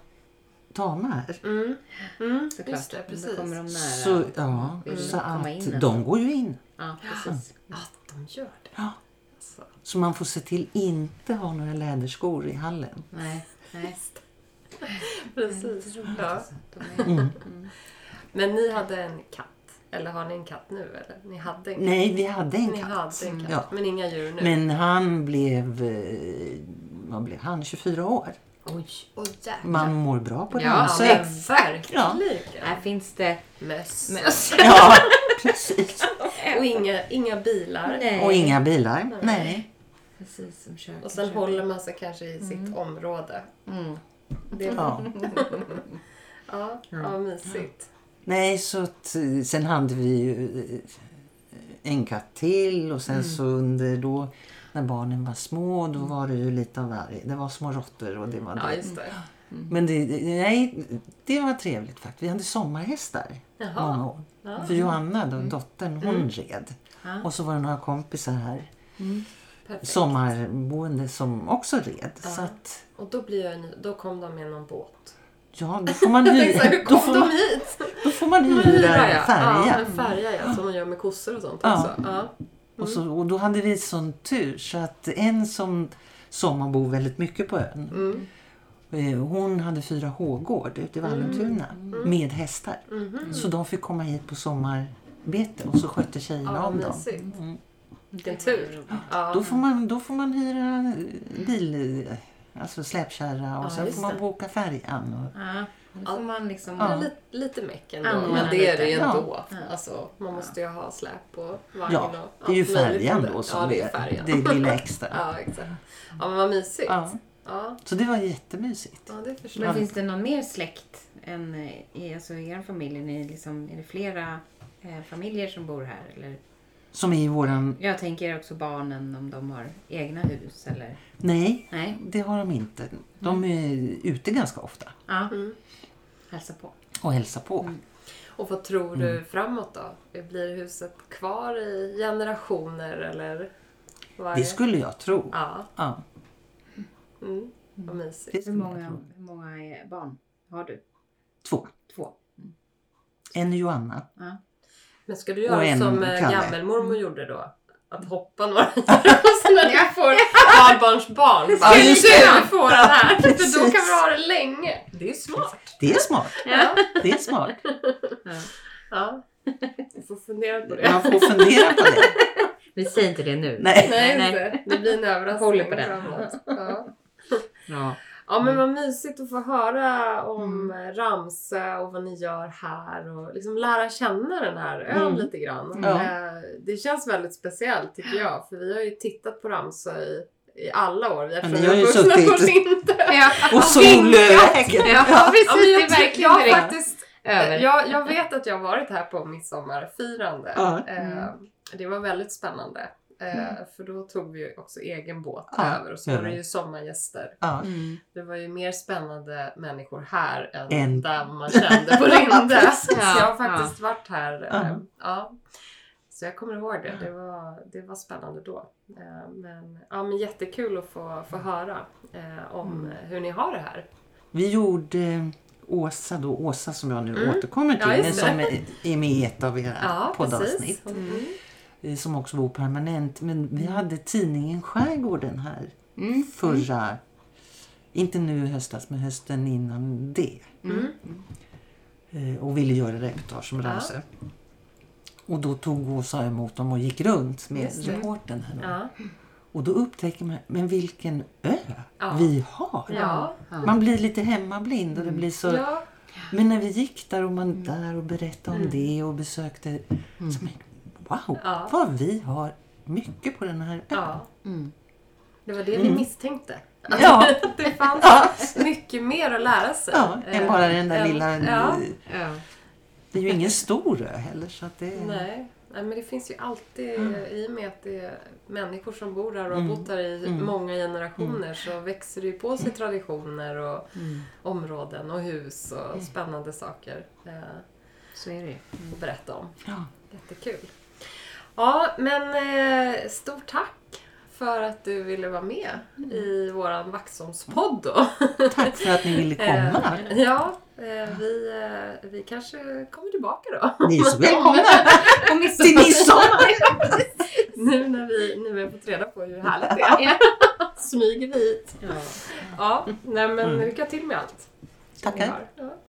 Speaker 3: tama här.
Speaker 2: Mm. Mm,
Speaker 1: Såklart.
Speaker 2: just det,
Speaker 1: Då
Speaker 2: precis.
Speaker 1: kommer de nära.
Speaker 3: Så, ja,
Speaker 1: Vill
Speaker 3: så
Speaker 1: komma in
Speaker 3: att
Speaker 1: ändå.
Speaker 3: de går ju in.
Speaker 1: Ja, precis.
Speaker 2: Ja, de gör det.
Speaker 3: Ja.
Speaker 2: Alltså,
Speaker 3: Så man får se till inte ha några läderskor i hallen.
Speaker 1: Nej, nej.
Speaker 2: precis. Ja.
Speaker 1: De är...
Speaker 2: Men ni hade en katt. Eller har ni en katt nu? Eller? Ni hade en katt.
Speaker 3: Nej, vi hade en
Speaker 2: Ni
Speaker 3: katt. Mm.
Speaker 2: hade en katt.
Speaker 3: Ja.
Speaker 2: Men inga djur nu.
Speaker 3: Men han blev, eh, vad blev han, 24 år.
Speaker 1: Oj.
Speaker 2: Åh, jäklar.
Speaker 3: Man mår bra på
Speaker 1: Ja,
Speaker 3: den.
Speaker 2: Ja,
Speaker 3: Så,
Speaker 2: men
Speaker 3: ja.
Speaker 2: verkligen.
Speaker 1: Här finns det
Speaker 2: Möss.
Speaker 1: möss.
Speaker 3: precis.
Speaker 2: Och inga, inga bilar.
Speaker 1: [LAUGHS] Nej.
Speaker 3: Och inga bilar. Nej.
Speaker 1: Precis som köket.
Speaker 2: Och sen håller man sig kanske i sitt område.
Speaker 1: Mm.
Speaker 2: Det, ja.
Speaker 3: Ja.
Speaker 2: Ja, mysigt.
Speaker 3: Nej, så att, eh, sen hade vi ju eh, en katt till och sen
Speaker 2: Mm.
Speaker 3: så under då när barnen var små då var det ju lite av varje. Det var små råttor och det var
Speaker 2: Ja,
Speaker 3: det.
Speaker 2: just det. Mm.
Speaker 3: Men det, nej, det var trevligt faktiskt. Vi hade sommarhästar
Speaker 2: Jaha.
Speaker 3: många år.
Speaker 2: Ja. Mm.
Speaker 3: För Johanna, då, dottern, hon red.
Speaker 1: Ja.
Speaker 3: Och så var det några kompisar här,
Speaker 2: Mm. Perfekt.
Speaker 3: sommarboende, som också red. Så att,
Speaker 2: Och då, blir jag, ny- då kom de med någon båt.
Speaker 3: ja, då får
Speaker 2: [LAUGHS]
Speaker 3: man
Speaker 2: Jag tänkte så här,
Speaker 3: hyra,
Speaker 2: hur
Speaker 3: då
Speaker 2: kom
Speaker 3: får man,
Speaker 2: de hit?
Speaker 3: då får man hyra
Speaker 2: Färja,
Speaker 3: en
Speaker 2: Ja,
Speaker 3: färja.
Speaker 2: en färja ja, som man gör med kossor och sånt
Speaker 3: Ja.
Speaker 2: också. Ja.
Speaker 3: Och,
Speaker 2: Mm.
Speaker 3: så, och då hade vi sån tur så att en som sommarbor väldigt mycket på ön.
Speaker 2: Mm.
Speaker 3: eh, Hon hade fyra hågård ute i Vallentuna
Speaker 2: Mm.
Speaker 3: med hästar.
Speaker 2: Mm-hmm.
Speaker 3: Så de fick komma hit på sommarbete och så skötte tjejerna
Speaker 2: Ja,
Speaker 3: om dem.
Speaker 2: mysigt.
Speaker 3: Mm.
Speaker 2: Vilken tur. Ja.
Speaker 3: Då, får man, då får man hyra eh, bil, eh, alltså släpkärra och
Speaker 2: Ja,
Speaker 3: sen
Speaker 2: just
Speaker 3: får man
Speaker 2: det.
Speaker 3: boka färjan. Och,
Speaker 1: Ja, då får man liksom...
Speaker 2: Ja.
Speaker 3: Ja.
Speaker 2: Lite, lite meck ändå,
Speaker 1: Annorlunda
Speaker 2: men det är det ju
Speaker 3: lite.
Speaker 2: ändå. Alltså, man måste ju ha släp på vagn
Speaker 3: ja,
Speaker 2: och
Speaker 3: det är ju
Speaker 2: allt möjligt.
Speaker 3: färjan då som
Speaker 2: ja, det är.
Speaker 3: är
Speaker 2: färjan.
Speaker 3: det lilla extra.
Speaker 2: Ja, exakt. Ja, men vad mysigt.
Speaker 3: Ja.
Speaker 2: Ja, ja,
Speaker 3: Så det var jättemysigt.
Speaker 2: det förstår
Speaker 1: Men
Speaker 2: jag.
Speaker 1: finns det någon mer släkt än eh, i, alltså, i er familj? Är, ni liksom, är det flera eh, familjer som bor här? Eller?
Speaker 3: Som är i våran...
Speaker 1: Jag tänker också barnen om de har egna hus eller?
Speaker 3: Nej,
Speaker 1: Nej,
Speaker 3: det har de inte. De är ute ganska ofta
Speaker 1: ja.
Speaker 2: Mm.
Speaker 1: Hälsa på.
Speaker 3: och hälsar på.
Speaker 2: Och vad tror
Speaker 3: Mm.
Speaker 2: du framåt då? Blir huset kvar i generationer eller? Vad är
Speaker 3: Det skulle jag tro.
Speaker 2: Ja,
Speaker 3: Ja.
Speaker 2: mm. vad mysigt.
Speaker 3: Det
Speaker 1: Hur
Speaker 3: skulle jag
Speaker 1: många,
Speaker 3: tro.
Speaker 1: hur många eh, barn har du?
Speaker 3: Två.
Speaker 1: [LAUGHS] Två?
Speaker 3: En Joanna.
Speaker 1: Ja.
Speaker 2: Men ska du
Speaker 3: Och
Speaker 2: göra
Speaker 3: en
Speaker 2: som eh,
Speaker 3: Kalle. Mm.
Speaker 2: gammelmormor gjorde då? Att hoppa några [LAUGHS] generationer när du får barnbarnsbarn. Bara,
Speaker 3: Ja, just
Speaker 2: Du får den här. För då
Speaker 3: Precis.
Speaker 2: kan vi ha det länge. Det är ju smart.
Speaker 3: Det är smart.
Speaker 2: Ja.
Speaker 3: Det
Speaker 2: [LAUGHS]
Speaker 3: är smart.
Speaker 2: ja. Vi får fundera på det.
Speaker 3: Man får fundera på det.
Speaker 1: Vi säger inte det nu.
Speaker 3: Nej.
Speaker 2: Nej,
Speaker 1: Nej.
Speaker 2: inte. det blir en
Speaker 1: Håller
Speaker 2: överraskning
Speaker 1: på den.
Speaker 2: framåt. Ja.
Speaker 1: Ja.
Speaker 2: Ja men vad mysigt att få höra om mm. Ramsö och vad ni gör här och liksom lära känna den här ön
Speaker 3: Mm.
Speaker 2: lite grann.
Speaker 3: Ja.
Speaker 2: Eh, Det känns väldigt speciellt tycker jag för vi har ju tittat på Ramsö i, i alla år. Vi
Speaker 3: Men ni har ju
Speaker 2: [LAUGHS]
Speaker 3: suttit-
Speaker 2: på Linde.
Speaker 1: Ja.
Speaker 3: Och solöken.
Speaker 1: Ja, precis. det
Speaker 2: Ja, men jag,
Speaker 1: är
Speaker 2: ty- jag,
Speaker 1: verkligen
Speaker 2: har
Speaker 1: direkt
Speaker 2: faktiskt,
Speaker 1: över.
Speaker 2: jag, jag vet att jag har varit här på midsommarfirande.
Speaker 3: Ja.
Speaker 2: Eh,
Speaker 1: Mm.
Speaker 2: Det var väldigt spännande. Eh, För då tog vi ju också egen båt
Speaker 3: Ja,
Speaker 2: över och så
Speaker 3: gör
Speaker 2: var det
Speaker 3: vi.
Speaker 2: ju sommargäster.
Speaker 3: Ja.
Speaker 1: Mm.
Speaker 2: Det var ju mer spännande människor här än
Speaker 3: Än-
Speaker 2: där man kände
Speaker 3: [LAUGHS]
Speaker 2: på Linde. Så jag har
Speaker 1: Ja,
Speaker 2: faktiskt varit här. eh,
Speaker 3: Ja.
Speaker 2: Ja. Så jag kommer ihåg det. Det var, det var spännande då. Eh, Men, ja, men jättekul att få, få höra eh, om
Speaker 3: Mm.
Speaker 2: eh, hur ni har det här.
Speaker 3: Vi gjorde Åsa då, Åsa som jag nu återkommer till,
Speaker 2: Mm. Ja, just
Speaker 3: men som är- är med i ett av era
Speaker 2: Ja,
Speaker 3: poddavsnitt.
Speaker 2: precis. Mm.
Speaker 3: eh, Som också bor permanent. Men vi hade tidningen Skärgården här
Speaker 2: Mm.
Speaker 3: förra, inte nu i höstas, men hösten innan det.
Speaker 2: Mm.
Speaker 3: Eh, och ville göra reportage om Ramsö. Och då tog Åsa emot dem och gick runt
Speaker 2: Just
Speaker 3: med
Speaker 2: det.
Speaker 3: reportern. Här då.
Speaker 2: Ja.
Speaker 3: Och då upptäcker man, men vilken ö
Speaker 2: Ja.
Speaker 3: vi har!
Speaker 2: Ja. Mm.
Speaker 3: Man blir lite hemmablind och det blir så...
Speaker 2: Ja.
Speaker 3: Men när vi gick där och
Speaker 2: Mm.
Speaker 3: man där och berättade om det och besökte... Så men, wow,
Speaker 2: Ja.
Speaker 3: vad vi har mycket på den här ön!
Speaker 2: ja.
Speaker 1: Mm.
Speaker 2: Det var det
Speaker 3: Mm.
Speaker 2: vi
Speaker 3: [LAUGHS]
Speaker 2: misstänkte.
Speaker 3: Ja.
Speaker 2: [LAUGHS] det fanns mycket mer att lära sig.
Speaker 3: Ja, än
Speaker 2: Eh,
Speaker 3: bara den där
Speaker 2: än-
Speaker 3: lilla... Mm.
Speaker 2: Ja.
Speaker 1: Ja.
Speaker 3: Det är ju ingen stor ö heller så att det...
Speaker 2: Nej. Nej, men det finns ju alltid,
Speaker 3: Mm.
Speaker 2: i och med att det är människor som bor där och har bott där i
Speaker 3: Mm.
Speaker 2: många generationer så växer det ju på sig traditioner och
Speaker 3: Mm.
Speaker 2: områden och hus och spännande saker eh,
Speaker 1: Så är det ju.
Speaker 2: att berätta om.
Speaker 3: Ja.
Speaker 2: Jättekul. Ja, men eh, stort tack för att du ville vara med i våran Vaxholmspodd då.
Speaker 3: Mm. Tack för att ni ville komma!
Speaker 2: [LAUGHS] Eh, ja, eh, vi, eh, vi kanske kommer tillbaka då.
Speaker 3: Ni är så välkomna! Till
Speaker 1: [LAUGHS]
Speaker 2: [LAUGHS]
Speaker 3: midsommar!
Speaker 2: Nu när vi, nu har vi fått reda på hur härligt det är.
Speaker 3: [LAUGHS]
Speaker 2: Smyger vi hit. Ja, nej men lycka till med allt.
Speaker 3: Mm. Tackar.
Speaker 2: Ja.